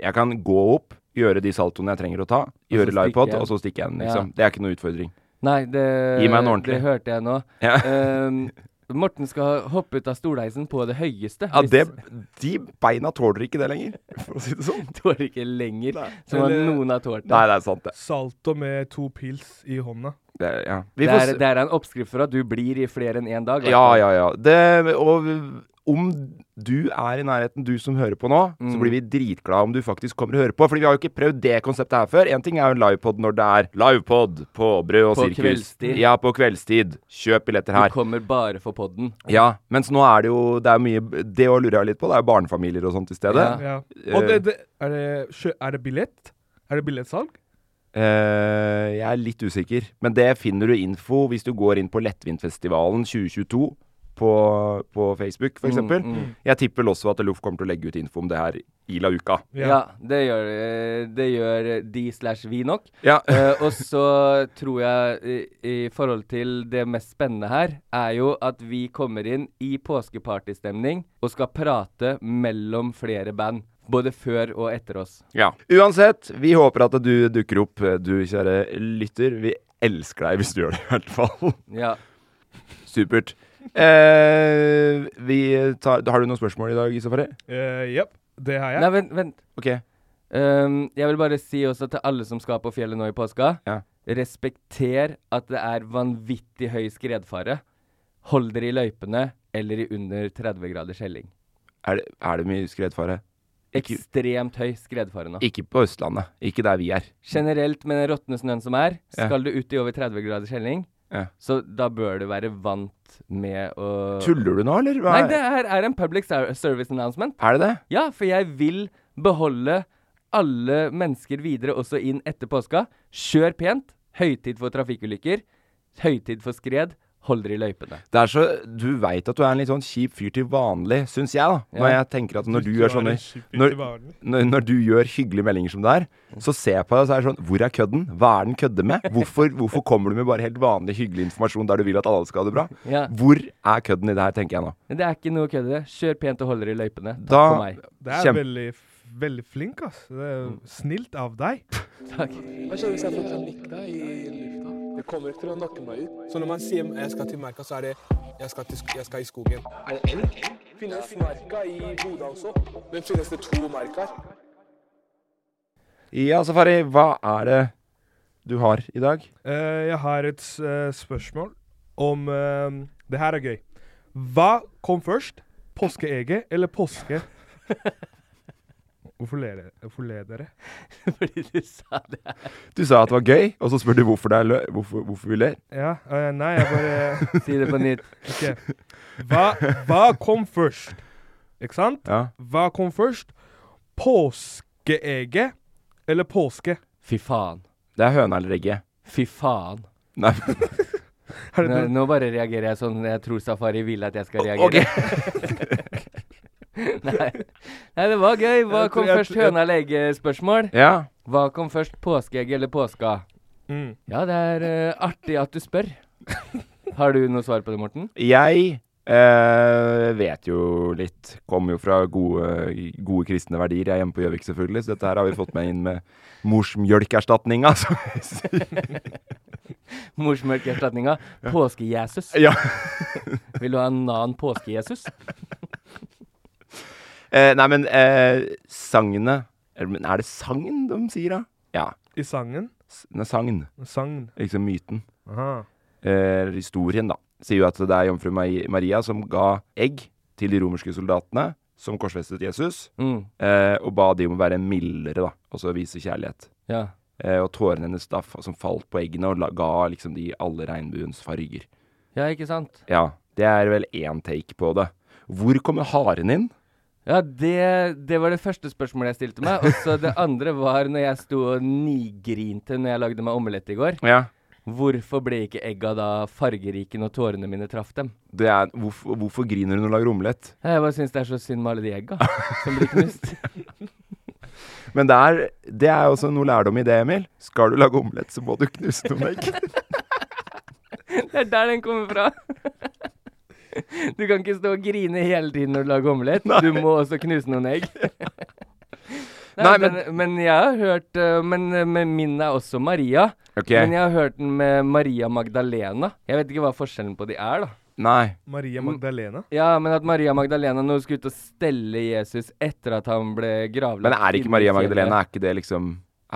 [SPEAKER 3] jeg kan gå opp, gjøre de saltoene jeg trenger å ta, gjøre
[SPEAKER 2] stikker
[SPEAKER 3] livepod,
[SPEAKER 2] jeg.
[SPEAKER 3] og så stikke igjen,
[SPEAKER 2] Ja.
[SPEAKER 3] liksom. Det er ikke noe utfordring.
[SPEAKER 2] Nei, det
[SPEAKER 3] Gi meg en ordentlig.
[SPEAKER 2] Det hørte jeg nå.
[SPEAKER 3] *laughs* Ja.
[SPEAKER 2] Ehm, Morten skal hoppe ut av stolheisen på det høyeste.
[SPEAKER 3] Ja,
[SPEAKER 2] hvis-
[SPEAKER 3] det,
[SPEAKER 2] *laughs*
[SPEAKER 3] de beina tåler ikke det lenger, *laughs* for å si det sånn.
[SPEAKER 2] Tåler ikke lenger, som
[SPEAKER 4] Eller-
[SPEAKER 2] noen har tålt det.
[SPEAKER 3] Nei, det er sant, det.
[SPEAKER 4] Salto med to pils i hånda.
[SPEAKER 3] det er- ja. Vi
[SPEAKER 2] Det
[SPEAKER 3] får
[SPEAKER 2] er,
[SPEAKER 3] se.
[SPEAKER 2] det er en oppskrift for at du blir i flere enn én dag. i hvert
[SPEAKER 3] Ja,
[SPEAKER 2] fall.
[SPEAKER 3] ja, ja. Det, og om du er i nærheten, du som hører på nå, så
[SPEAKER 2] Mm.
[SPEAKER 3] blir vi dritglade om du faktisk kommer og hører på. Fordi vi har jo ikke prøvd det konseptet her før. Én ting er jo en livepod når det er livepod på Brød og
[SPEAKER 2] På
[SPEAKER 3] sirkus.
[SPEAKER 2] kveldstid.
[SPEAKER 3] Ja, på kveldstid. Kjøp billetter her.
[SPEAKER 2] Du kommer bare for podden.
[SPEAKER 3] Ja, mens nå er det jo det er mye Det å lurer jeg litt på, det er jo barnefamilier og sånt i stedet.
[SPEAKER 2] Ja.
[SPEAKER 4] Ja. Og det, det, er, det, kjø- er det billett? Er det billettsalg?
[SPEAKER 3] Eh, jeg er litt usikker, men det finner du info hvis du går inn på Lettvintfestivalen 2022 på, på Facebook, f.eks.
[SPEAKER 2] Mm,
[SPEAKER 3] eksempel
[SPEAKER 2] mm.
[SPEAKER 3] Jeg tipper også at Loff kommer til å legge ut info om det her i la uka.
[SPEAKER 2] Ja, det gjør eh, Det gjør de slash vi nok.
[SPEAKER 3] Ja.
[SPEAKER 2] Eh, og så tror jeg, i, i forhold til det mest spennende her, er jo at vi kommer inn i påskepartystemning og skal prate mellom flere band. Både før og etter oss.
[SPEAKER 3] Ja. Uansett, vi håper at du dukker opp, du kjære lytter. Vi elsker deg hvis du gjør det, i hvert fall. *laughs*
[SPEAKER 2] Ja.
[SPEAKER 3] Supert. Eh, vi tar, har du noen spørsmål i dag, Isafari?
[SPEAKER 4] Eh, Jepp, det har jeg.
[SPEAKER 2] Nei, vent. vent.
[SPEAKER 3] OK.
[SPEAKER 2] Ehm, jeg vil bare si også til alle som skal på fjellet nå i påska,
[SPEAKER 3] Ja.
[SPEAKER 2] respekter at det er vanvittig høy skredfare. Hold dere i løypene eller i under 30 graders helling.
[SPEAKER 3] Er det, er det mye skredfare? Ikke,
[SPEAKER 2] Ekstremt høy skredfare nå.
[SPEAKER 3] ikke på Østlandet. Ikke der vi er.
[SPEAKER 2] Generelt med den råtne snøen som er,
[SPEAKER 3] Ja.
[SPEAKER 2] skal du ut i over 30 graders helling,
[SPEAKER 3] Ja.
[SPEAKER 2] så da bør du være vant med å
[SPEAKER 3] Tuller du nå, eller? Hva
[SPEAKER 2] Nei,
[SPEAKER 3] er-
[SPEAKER 2] det her er en public ser- service announcement.
[SPEAKER 3] Er det det?
[SPEAKER 2] Ja, for jeg vil beholde alle mennesker videre også inn etter påska. Kjør pent. Høytid for trafikkulykker. Høytid for skred. Hold dere i løypene.
[SPEAKER 3] Det er så, Du veit at du er en litt sånn kjip fyr til vanlig, syns jeg, da. Når
[SPEAKER 2] Ja.
[SPEAKER 3] jeg tenker at når du,
[SPEAKER 4] Synes du
[SPEAKER 3] gjør
[SPEAKER 4] er
[SPEAKER 3] sånne
[SPEAKER 4] en kjip fyr
[SPEAKER 3] når,
[SPEAKER 4] til vanlig.
[SPEAKER 3] når, når du gjør hyggelige meldinger som det er, så ser jeg på deg og så er det sånn Hvor er kødden? Hva er den kødde med? Hvorfor, hvorfor kommer du med bare helt vanlig hyggelig informasjon der du vil at alle skal ha det bra?
[SPEAKER 2] Ja.
[SPEAKER 3] Hvor er kødden i det her, tenker jeg nå.
[SPEAKER 2] Men det er ikke noe kødd i det. Kjør pent og hold dere i løypene. Takk
[SPEAKER 3] Da-
[SPEAKER 2] for meg.
[SPEAKER 4] Det er
[SPEAKER 3] Kjempe-
[SPEAKER 4] veldig, f- veldig flink, ass. Det er snilt av deg.
[SPEAKER 2] Takk. *laughs*
[SPEAKER 7] Hva skjer hvis jeg får panikk i lufta? Det kommer ikke til å nakke meg ut. Så når man sier jeg skal til merka, så er det jeg skal, til, sk- jeg skal i skogen. Er det elg? Finnes merka i Bodø også? Men finnes det to merker?
[SPEAKER 3] Ja, Safari, hva er det du har i dag?
[SPEAKER 4] Eh, jeg har et s- eh, spørsmål om eh, Det her er gøy. Hva kom først? Påskeegget eller påske? Hvorfor ler dere? Hvorfor ler dere?
[SPEAKER 2] Fordi du sa det her.
[SPEAKER 3] Du sa at det var gøy, og så spør du hvorfor, det er lø hvorfor, hvorfor vi ler.
[SPEAKER 4] Ja, eh, nei, jeg bare
[SPEAKER 2] Si det på nytt.
[SPEAKER 4] Ok. Hva, hva kom først? Ikke sant?
[SPEAKER 3] Ja.
[SPEAKER 4] Hva kom først? Påskeegget eller påske?
[SPEAKER 2] Fy faen.
[SPEAKER 3] Det er høna eller egget.
[SPEAKER 2] Fy faen.
[SPEAKER 3] Nei. *laughs*
[SPEAKER 4] Er det
[SPEAKER 2] Nå,
[SPEAKER 4] det?
[SPEAKER 2] nå bare reagerer jeg sånn jeg tror Safari vil at jeg skal reagere.
[SPEAKER 3] OK.
[SPEAKER 2] *laughs* Nei. Nei, det var gøy. Hva
[SPEAKER 4] Jeg tror-
[SPEAKER 2] kom
[SPEAKER 4] jeg-
[SPEAKER 2] først?
[SPEAKER 4] jeg-
[SPEAKER 2] Høna-lege-spørsmål?
[SPEAKER 3] Ja.
[SPEAKER 2] Hva kom først? Påskeegg eller påska?
[SPEAKER 4] Mm.
[SPEAKER 2] Ja, det er eh, artig at du spør. *laughs* Har du noe svar på det, Morten?
[SPEAKER 3] Jeg eh, vet jo litt. Kommer jo fra gode, gode kristne verdier. Jeg er hjemme på Gjøvik, selvfølgelig, så dette her har vi fått med inn med altså. morsmjølkerstatninga. som vi sier.
[SPEAKER 2] Morsmelkerstatninga. Påske-Jesus.
[SPEAKER 3] *laughs* Ja.
[SPEAKER 2] Vil du ha en annen påske-Jesus?
[SPEAKER 3] Eh, nei, men eh, sangene er, men er det sagn de sier, da? Ja.
[SPEAKER 4] I sangen?
[SPEAKER 3] S- Nei, sagn.
[SPEAKER 4] Sagn.
[SPEAKER 3] Liksom myten.
[SPEAKER 4] Aha.
[SPEAKER 3] Eller historien, da. Sier jo at det er jomfru Mai- Maria som ga egg til de romerske soldatene som korsfestet Jesus,
[SPEAKER 2] Mm.
[SPEAKER 3] eh, og ba de om å være mildere, da, og så vise kjærlighet.
[SPEAKER 2] Ja.
[SPEAKER 3] Eh, og tårene hennes da, f- som falt på eggene, og la, ga liksom de alle regnbuens farger.
[SPEAKER 2] Ja, ikke sant?
[SPEAKER 3] Ja, det er vel én take på det. Hvor kommer haren inn?
[SPEAKER 2] Ja, det, det var det første spørsmålet jeg stilte meg. Og så det andre var når jeg sto og nigrinte når jeg lagde meg omelett i går.
[SPEAKER 3] Ja.
[SPEAKER 2] Hvorfor ble ikke egga da fargerike når tårene mine traff dem?
[SPEAKER 3] Det er, hvorfor, hvorfor griner du når du lager omelett?
[SPEAKER 2] Jeg bare syns det er så synd med alle de egga som blir
[SPEAKER 3] *laughs*
[SPEAKER 2] knust.
[SPEAKER 3] Men det er, det er også noe lærdom i det, Emil. Skal du lage omelett, så må du knuse noen *laughs* egg.
[SPEAKER 2] Det er der den kommer fra. *laughs* Du kan ikke stå og grine hele tiden når du lager omelett. Du må også knuse noen
[SPEAKER 3] *laughs*
[SPEAKER 2] egg. Nei,
[SPEAKER 3] Nei,
[SPEAKER 2] men, den, men jeg har hørt eh, Men, eh, men min er også Maria.
[SPEAKER 3] Ok.
[SPEAKER 2] Men jeg har hørt den med Maria Magdalena. Jeg vet ikke hva forskjellen på de er, da.
[SPEAKER 3] Nei.
[SPEAKER 4] Maria Magdalena?
[SPEAKER 2] Ja, men at Maria Magdalena nå skulle ut og stelle Jesus etter at han ble gravlagt
[SPEAKER 3] Men er
[SPEAKER 2] inne i
[SPEAKER 3] ikke Maria
[SPEAKER 2] fjellet.
[SPEAKER 3] Magdalena Er ikke det liksom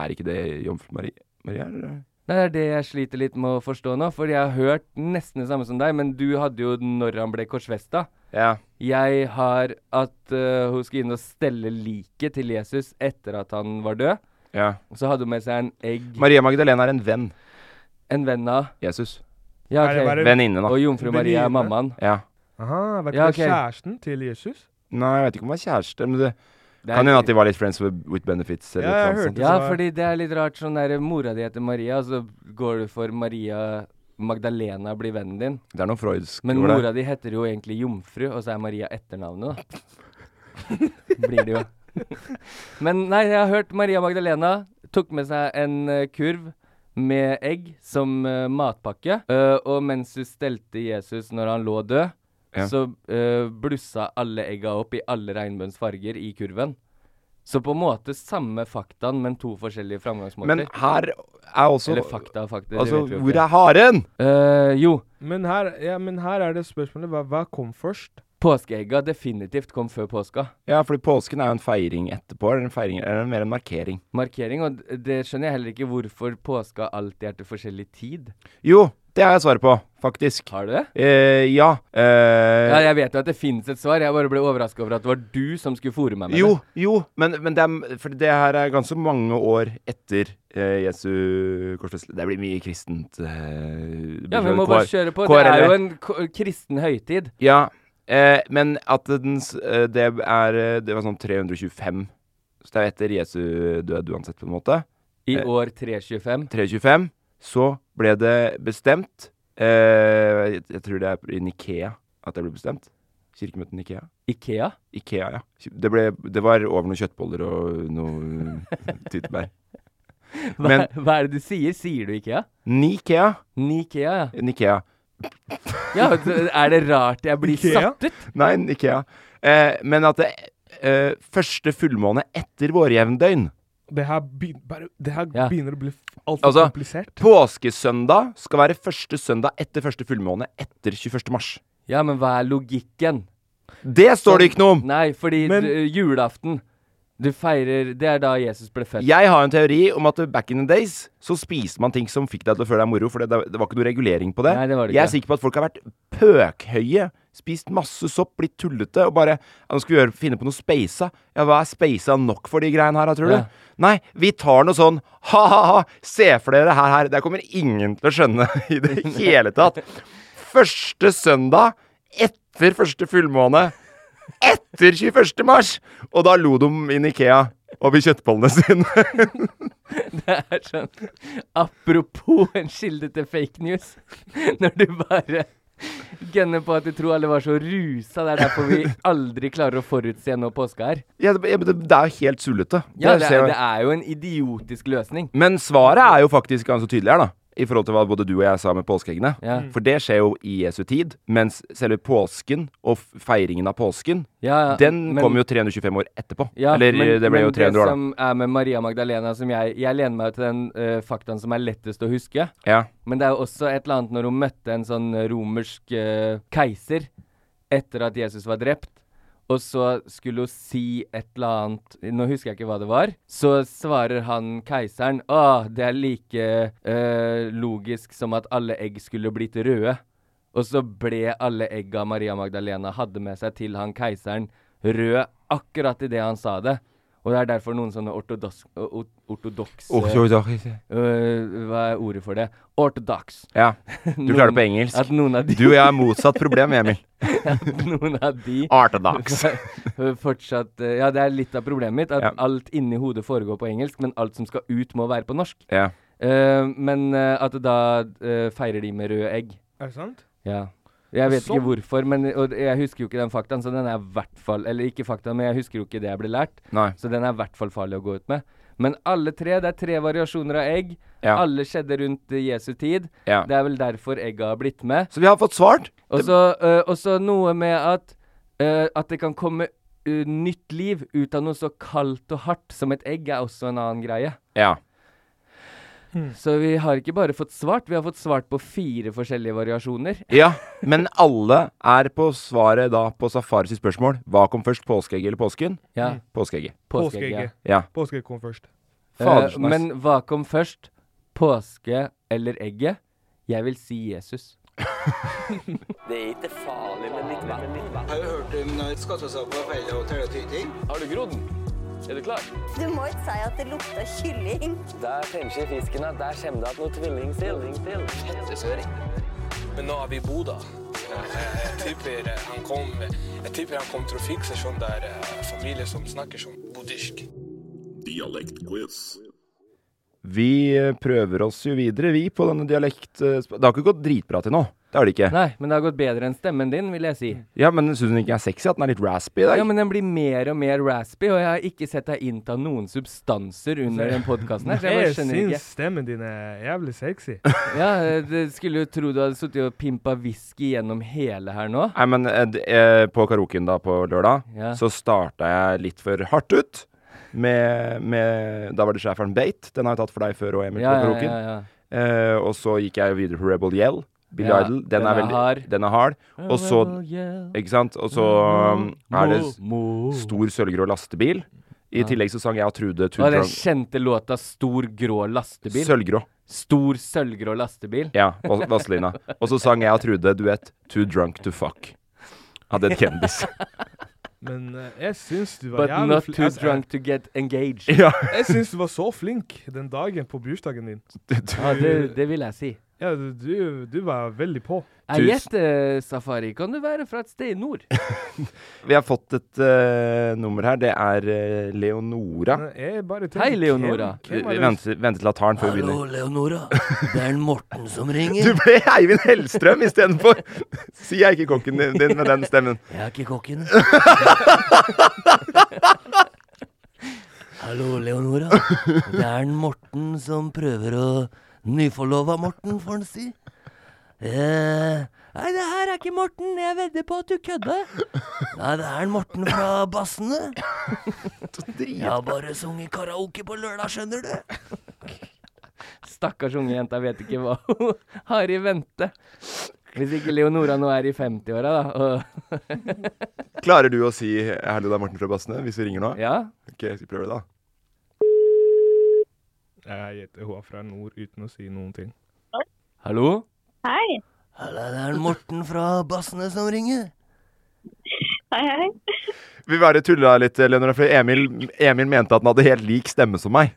[SPEAKER 3] Er ikke det jomfru Maria? Maria eller?
[SPEAKER 2] Nei, Det er det jeg sliter litt med å forstå nå, for jeg har hørt nesten det samme som deg, men du hadde jo når han ble korsfesta.
[SPEAKER 3] Ja.
[SPEAKER 2] Jeg har at eh, hun skulle inn og stelle liket til Jesus etter at han var død.
[SPEAKER 3] Ja.
[SPEAKER 2] Og så hadde hun med seg en egg.
[SPEAKER 3] Maria Magdalena er en venn.
[SPEAKER 2] En venn av
[SPEAKER 3] Jesus.
[SPEAKER 2] Ja,
[SPEAKER 3] Er det
[SPEAKER 2] ok.
[SPEAKER 3] bare- Venninne, da.
[SPEAKER 2] Og jomfru Maria er
[SPEAKER 3] Venninne?
[SPEAKER 2] mammaen.
[SPEAKER 3] Ja.
[SPEAKER 4] Aha, var ikke
[SPEAKER 2] Ja,
[SPEAKER 4] det
[SPEAKER 2] ok.
[SPEAKER 4] kjæresten til Jesus?
[SPEAKER 3] Nei, jeg vet ikke om hun var kjæreste, men det,
[SPEAKER 2] Det er-
[SPEAKER 3] kan hende at de var litt friends with, with benefits. Eller
[SPEAKER 4] Ja, jeg
[SPEAKER 3] noe sånt.
[SPEAKER 2] Ja, fordi det er litt rart. Sånn der mora di heter Maria, og så går du for Maria Magdalena blir vennen din.
[SPEAKER 3] Det er noe freudsk
[SPEAKER 2] Men
[SPEAKER 3] over det.
[SPEAKER 2] mora di heter jo egentlig Jomfru, og så er Maria etternavnet, da. *laughs* blir det jo. Men nei, jeg har hørt Maria Magdalena tok med seg en eh, kurv med egg som eh, matpakke, eh, og mens hun stelte Jesus når han lå død,
[SPEAKER 3] Ja.
[SPEAKER 2] så eh, blussa alle egga opp i alle regnbuens farger i kurven. Så på en måte samme faktaen, men to forskjellige framgangsmåter.
[SPEAKER 3] Men her er også
[SPEAKER 2] Eller fakta, fakta. det
[SPEAKER 3] Altså,
[SPEAKER 2] vet vi jo
[SPEAKER 3] hvor
[SPEAKER 2] ikke. Eh,
[SPEAKER 3] er haren?
[SPEAKER 2] jo.
[SPEAKER 4] Men her, ja, men her er det spørsmålet hva, hva kom først?
[SPEAKER 2] Påskeegga definitivt kom før påska.
[SPEAKER 3] Ja, fordi påsken er jo en feiring etterpå. Eller en feiring, eller mer en markering.
[SPEAKER 2] Markering, og d- det skjønner jeg heller ikke hvorfor påska alltid er til forskjellig tid.
[SPEAKER 3] Jo, det har jeg svaret på, faktisk.
[SPEAKER 2] Har du det?
[SPEAKER 3] Eh, ja. Eh,
[SPEAKER 2] Ja, jeg vet jo at det fins et svar, jeg bare ble overraska over at det var du som skulle fòre meg med
[SPEAKER 3] Jo,
[SPEAKER 2] det.
[SPEAKER 3] jo, men, men det, er, for det her er ganske mange år etter eh, Jesu korsfestelse. Det blir mye kristent. eh,
[SPEAKER 2] Ja, vi må
[SPEAKER 3] K-
[SPEAKER 2] bare kjøre på. Det
[SPEAKER 3] KRLE.
[SPEAKER 2] er jo en k kristen høytid.
[SPEAKER 3] Ja, eh, men at den, s- eh, det er eh, Det var sånn 325. Så det er etter Jesu død uansett, på en måte.
[SPEAKER 2] I
[SPEAKER 3] Eh.
[SPEAKER 2] år 325.
[SPEAKER 3] 325. Så ble det bestemt eh, jeg, jeg tror det er i Nikea at det ble bestemt. Kirkemøtet Nikea.
[SPEAKER 2] Ikea?
[SPEAKER 3] Ikea, ja. Det, ble, det var over noen kjøttboller og noe *laughs* tyttebær.
[SPEAKER 2] Hva,
[SPEAKER 3] Men-
[SPEAKER 2] hva er det du sier? Sier du Ikea?
[SPEAKER 3] Nikea.
[SPEAKER 2] Nikea, ja.
[SPEAKER 3] Nikea.
[SPEAKER 2] Ja, d- er det rart jeg blir satt ut?
[SPEAKER 3] Nei, Nikea. Eh, men at det eh, første fullmåne etter vårjevndøgn
[SPEAKER 4] Det her, begyn- bare, det her
[SPEAKER 3] Ja.
[SPEAKER 4] begynner å bli altfor
[SPEAKER 3] Altså,
[SPEAKER 4] komplisert.
[SPEAKER 3] påskesøndag skal være første søndag etter første fullmåne etter 21. mars.
[SPEAKER 2] Ja, men hva er logikken?
[SPEAKER 3] Det står det ikke noe om!
[SPEAKER 2] Nei, fordi
[SPEAKER 3] Men-
[SPEAKER 2] du, julaften Du feirer Det er da Jesus ble født.
[SPEAKER 3] Jeg har en teori om at back in the days så spiste man ting som fikk deg til å føle deg moro, for det, det var ikke noe regulering på det.
[SPEAKER 2] Nei, det var det ikke.
[SPEAKER 3] jeg er sikker på at folk har vært pøkhøye, spist masse sopp, blitt tullete og bare Nå skal vi gjøre, finne på noe speisa. Ja, hva er speisa nok for de greiene her, da, tror
[SPEAKER 2] Ja.
[SPEAKER 3] du? Nei, vi tar noe sånn ha-ha-ha, se for dere her, her. Det kommer ingen til å skjønne *laughs* i det hele tatt. Første søndag etter første fullmåne. Etter 21. mars! Og da lo de inn Ikea over kjøttbollene sine.
[SPEAKER 2] Det er sånn Apropos en kilde til fake news. Når du bare Gunner på at du tror alle var så rusa. Det er derfor vi aldri klarer å forutse når påske er.
[SPEAKER 3] Ja, det, ja, men det, det er jo helt sullete.
[SPEAKER 2] Ja,
[SPEAKER 3] Det
[SPEAKER 2] det
[SPEAKER 3] ser
[SPEAKER 2] er,
[SPEAKER 3] jeg.
[SPEAKER 2] det er jo en idiotisk løsning.
[SPEAKER 3] Men svaret er jo faktisk ganske tydelig her, da. I forhold til hva både du og jeg sa med påskeeggene.
[SPEAKER 2] Ja.
[SPEAKER 3] For det skjer jo i Jesu tid. Mens selve påsken og f- feiringen av påsken,
[SPEAKER 2] Ja, ja,
[SPEAKER 3] den
[SPEAKER 2] men-
[SPEAKER 3] kom jo 325 år etterpå.
[SPEAKER 2] Ja,
[SPEAKER 3] Eller
[SPEAKER 2] men-
[SPEAKER 3] det ble jo 300 år, da.
[SPEAKER 2] Men det som er med Maria Magdalena, som jeg Jeg lener meg jo til den eh, faktaen som er lettest å huske.
[SPEAKER 3] Ja.
[SPEAKER 2] Men det er jo også et eller annet når hun møtte en sånn romersk eh, keiser etter at Jesus var drept. Og så skulle hun si et eller annet Nå husker jeg ikke hva det var. Så svarer han keiseren Å, det er like eh, logisk som at alle egg skulle blitt røde. Og så ble alle egga Maria Magdalena hadde med seg til han keiseren rød akkurat idet han sa det. Og det er derfor noen sånne ortodoks- o- ortodokse
[SPEAKER 3] Ortodokse.
[SPEAKER 2] Øh, Hva er ordet for det? Ortodox.
[SPEAKER 3] Ja. Du klarer det på engelsk.
[SPEAKER 2] At noen av de
[SPEAKER 3] Du og jeg har motsatt problem, Emil.
[SPEAKER 2] *laughs* At noen av de *laughs*
[SPEAKER 3] Ortodox.
[SPEAKER 2] Fortsatt øh, Ja, det er litt av problemet mitt. At
[SPEAKER 3] Ja.
[SPEAKER 2] alt inni hodet foregår på engelsk, men alt som skal ut, må være på norsk.
[SPEAKER 3] Ja.
[SPEAKER 2] Eh, men eh, at da eh, feirer de med røde egg.
[SPEAKER 4] Er det sant?
[SPEAKER 2] Ja. Jeg vet
[SPEAKER 4] Så-
[SPEAKER 2] ikke
[SPEAKER 3] Sånn.
[SPEAKER 2] hvorfor, men og jeg husker jo ikke den faktaen, så den er i hvert fall Eller ikke faktaen, men jeg husker jo ikke det jeg ble lært,
[SPEAKER 3] Nei.
[SPEAKER 2] så den er i hvert fall farlig å gå ut med. Men alle tre, det er tre variasjoner av egg.
[SPEAKER 3] Ja.
[SPEAKER 2] Alle skjedde rundt eh, Jesu tid.
[SPEAKER 3] Ja.
[SPEAKER 2] Det er vel derfor egga har blitt med.
[SPEAKER 3] Så vi har fått svart.
[SPEAKER 2] Og så eh, og så noe med at eh, at det kan komme eh, nytt liv ut av noe så kaldt og hardt som et egg, er også en annen greie.
[SPEAKER 3] Ja.
[SPEAKER 8] Mm.
[SPEAKER 2] Så vi har ikke bare fått svart, vi har fått svart på fire forskjellige variasjoner.
[SPEAKER 3] Ja, men alle er på svaret da på Safaris spørsmål. Hva kom først, påskeegget eller påsken?
[SPEAKER 2] Ja.
[SPEAKER 3] Påskeegget.
[SPEAKER 4] Påskeegget.
[SPEAKER 3] Ja.
[SPEAKER 4] Påskeegget kom først.
[SPEAKER 2] Eh,
[SPEAKER 3] Fadersnass.
[SPEAKER 2] men hva kom først? Påske eller egget? Jeg vil si
[SPEAKER 8] *laughs*
[SPEAKER 2] Jesus.
[SPEAKER 8] Det er ikke farlig, men litt vann. Har du hørt om skattesak på feil og teletyting? Har du grodd den? Er du klar?
[SPEAKER 9] Du må ikke si at det lukter kylling.
[SPEAKER 8] Der tenker fisken at der kommer det at noe tvilling til. Men nå er vi i Bodø. Jeg tipper eh, han kom, jeg tipper han kom til å fikse sånn der eh, familie som snakker sånn buddhisk. Dialektquiz.
[SPEAKER 3] Vi eh, prøver oss jo videre, vi, på denne dialekt... eh, sp- Det har ikke gått dritbra til nå. Det har det ikke.
[SPEAKER 2] Nei, men det har gått bedre enn stemmen din, vil jeg si.
[SPEAKER 3] Ja, men syns hun ikke er sexy? At den er litt raspy i dag?
[SPEAKER 2] Ja, men den blir mer og mer raspy, og jeg har ikke sett deg innta noen substanser under den podkasten her, så jeg bare skjønner
[SPEAKER 4] syns
[SPEAKER 2] ikke.
[SPEAKER 4] stemmen din er jævlig sexy.
[SPEAKER 2] Ja, det skulle jo tro du hadde sittet og pimpa whisky gjennom hele her nå.
[SPEAKER 3] Nei, men eh, d- eh, på karaoken da på lørdag,
[SPEAKER 2] Ja.
[SPEAKER 3] så starta jeg litt for hardt ut. Med, med Da var det schæferen Bate. Den har jeg tatt for deg før og Emil,
[SPEAKER 2] Ja,
[SPEAKER 3] på
[SPEAKER 2] ja,
[SPEAKER 3] karaoken.
[SPEAKER 2] ja, ja.
[SPEAKER 3] Eh, og så gikk jeg videre på Rebel Yell. Billy
[SPEAKER 2] Ja,
[SPEAKER 3] Idol. Den,
[SPEAKER 2] den
[SPEAKER 3] er
[SPEAKER 2] er
[SPEAKER 3] veldig
[SPEAKER 2] hard.
[SPEAKER 3] Den er hard. Og så
[SPEAKER 2] Rebel Yell.
[SPEAKER 3] Ikke sant? Og så um, er det s- stor sølvgrå lastebil. I
[SPEAKER 2] Ja.
[SPEAKER 3] tillegg så sang jeg og Trude Two
[SPEAKER 2] Og den
[SPEAKER 3] Drunk-
[SPEAKER 2] kjente låta 'Stor grå lastebil'.
[SPEAKER 3] Sølvgrå.
[SPEAKER 2] Stor sølvgrå lastebil.
[SPEAKER 3] Ja, Vas- Vazelina. Og så sang jeg og Trude duett Too Drunk To Fuck. Hadde et kendis.
[SPEAKER 4] Men eh, jeg syns du var
[SPEAKER 2] But
[SPEAKER 4] jævlig
[SPEAKER 2] not
[SPEAKER 4] fl-
[SPEAKER 2] too
[SPEAKER 4] altså, jeg-
[SPEAKER 2] drunk to get engaged.
[SPEAKER 4] jeg syns du var så flink den dagen på
[SPEAKER 2] *laughs*
[SPEAKER 4] bursdagen din.
[SPEAKER 2] Ja, det, det vil jeg si.
[SPEAKER 4] Ja, du, du, du var veldig på.
[SPEAKER 2] Jeg gjetter, Safari, kan du være fra et sted i nord?
[SPEAKER 3] *laughs* Vi har fått et eh, nummer her. Det er eh, Leonora.
[SPEAKER 4] Men jeg bare tenker,
[SPEAKER 2] Hei, Leonora.
[SPEAKER 3] Vi vi venter, venter til at han får begynne.
[SPEAKER 10] Leonora. Det er en Morten som ringer.
[SPEAKER 3] Du ble Eivind Hellstrøm istedenfor! *laughs* Sier jeg ikke kokken din din med den stemmen.
[SPEAKER 10] Jeg er ikke kokken. Hallo, Leonora. Det er en Morten som prøver å Nyforlova Morten, får han si. Eh, nei, det her er ikke Morten. Jeg vedder på at du kødder. Nei, det er en Morten fra Bassene. Jeg har bare sunget karaoke på lørdag, skjønner du.
[SPEAKER 2] Stakkars unge jenta vet ikke hva hun har i vente. Hvis ikke Leonora nå er i 50-åra, da. Og
[SPEAKER 3] Klarer du å si 'hallo, det er Morten fra Bassene' hvis vi ringer nå?
[SPEAKER 2] Ja.
[SPEAKER 3] Ok, jeg skal prøve det, da.
[SPEAKER 4] Jeg gjetter hun er fra nord uten å si noen ting.
[SPEAKER 2] Hallo?
[SPEAKER 11] Hei.
[SPEAKER 10] Hallo, det er en Morten fra Bassene som ringer.
[SPEAKER 11] Hei, hei.
[SPEAKER 3] Vi bare tulla litt, Leonora, for Emil, Emil mente at han hadde helt lik stemme som meg.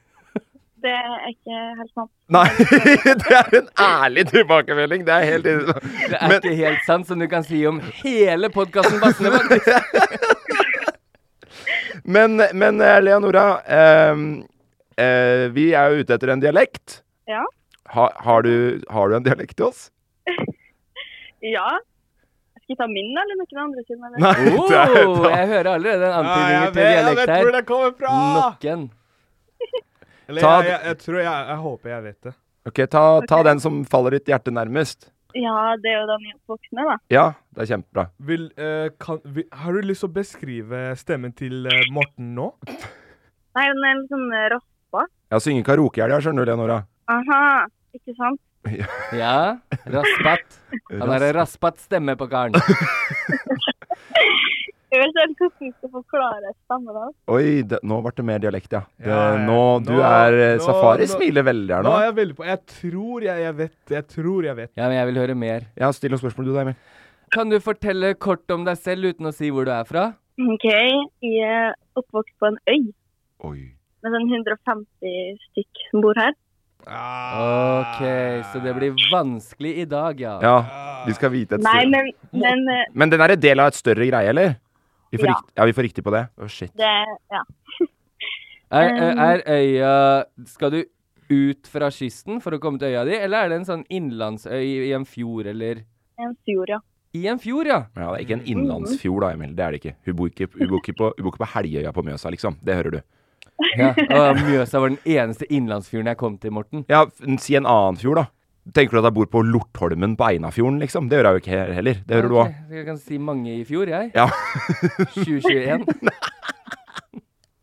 [SPEAKER 11] Det er ikke helt sant.
[SPEAKER 3] Nei, *laughs* det er en ærlig tilbakemelding. Det er helt
[SPEAKER 2] Det er ikke helt sant, som du kan si om hele podkasten Bassene.
[SPEAKER 4] *laughs*
[SPEAKER 2] faktisk.
[SPEAKER 3] Men, men eh, Leonora, ehm, eh, vi er jo ute etter en dialekt.
[SPEAKER 11] Ja.
[SPEAKER 3] Ha, har, du, har du en dialekt til oss?
[SPEAKER 11] *laughs* Ja. Skal jeg ta min, eller noen andre sin? eller?
[SPEAKER 2] Oh, jeg hører allerede en
[SPEAKER 4] Ja,
[SPEAKER 2] antydning
[SPEAKER 4] jeg
[SPEAKER 2] til
[SPEAKER 4] vet- jeg
[SPEAKER 2] dialekt
[SPEAKER 4] vet
[SPEAKER 2] her.
[SPEAKER 4] hvor det kommer fra!
[SPEAKER 2] Nok en.
[SPEAKER 4] Eller
[SPEAKER 3] Ta
[SPEAKER 4] jeg, jeg, jeg tror jeg, jeg håper jeg vet det.
[SPEAKER 3] Ok, ta, ta den som faller ditt hjerte nærmest.
[SPEAKER 11] Ja, det er jo den jeg oppvokste med, da.
[SPEAKER 3] Ja, det er kjempebra.
[SPEAKER 4] Vil, eh, kan, vil, har du lyst til å beskrive stemmen til eh, Morten nå?
[SPEAKER 11] Nei, den er litt sånn eh, raspa.
[SPEAKER 3] Jeg synger karaoke i helga, skjønner du det, Nora?
[SPEAKER 11] Aha, ikke sant?
[SPEAKER 2] Ja, raspat. Han har en raspat stemme på karen.
[SPEAKER 11] Jeg vet ikke helt hvordan jeg skal forklare stemmen hans.
[SPEAKER 3] Oi, det, nå ble det mer dialekt, ja. Det,
[SPEAKER 4] Ja, ja.
[SPEAKER 3] Nå, du
[SPEAKER 4] Nå-
[SPEAKER 3] er eh,
[SPEAKER 4] nå-
[SPEAKER 3] Safari
[SPEAKER 4] nå-
[SPEAKER 3] smiler veldig her nå.
[SPEAKER 4] Nå er jeg veldig på. Jeg tror jeg, jeg vet. Jeg tror jeg vet.
[SPEAKER 2] Ja, men jeg vil høre mer.
[SPEAKER 3] Ja, still noen spørsmål du da, Emil.
[SPEAKER 2] Kan du fortelle kort om deg selv uten å si hvor du er fra?
[SPEAKER 11] OK, jeg er oppvokst på en øy med sånn 150 stykk som bor her.
[SPEAKER 4] Ah.
[SPEAKER 2] OK, så det blir vanskelig i dag, ja.
[SPEAKER 3] Ja, vi skal vite et
[SPEAKER 11] Nei,
[SPEAKER 3] sted.
[SPEAKER 11] men, men eh,
[SPEAKER 3] Men den er en del av et større greie, eller? Vi får
[SPEAKER 11] Ja.
[SPEAKER 3] Riktig, ja, vi får riktig på det. Å, shit.
[SPEAKER 11] det Ja.
[SPEAKER 2] Er,
[SPEAKER 11] Mm.
[SPEAKER 2] er øya Skal du ut fra kysten for å komme til øya di, eller er det en sånn innlandsøy i en fjord, eller
[SPEAKER 11] En fjord, ja.
[SPEAKER 2] I en fjord, ja.
[SPEAKER 3] Ja, det er ikke en innlandsfjord da, Emil. Det er det ikke. Hun bor ikke, hun bor ikke, på, hun bor ikke på Helgøya på Mjøsa, liksom. Det hører du.
[SPEAKER 2] *laughs* ja. Og Mjøsa var den eneste innlandsfjorden jeg kom til, Morten.
[SPEAKER 3] Ja, f- si en annen fjord, da. Tenker du at jeg bor på Lortholmen på Einafjorden, liksom? Det gjør jeg jo ikke he- heller. Det hører
[SPEAKER 2] Ok, Jeg kan si mange i fjor, jeg.
[SPEAKER 3] Ja. *laughs*
[SPEAKER 2] 2021.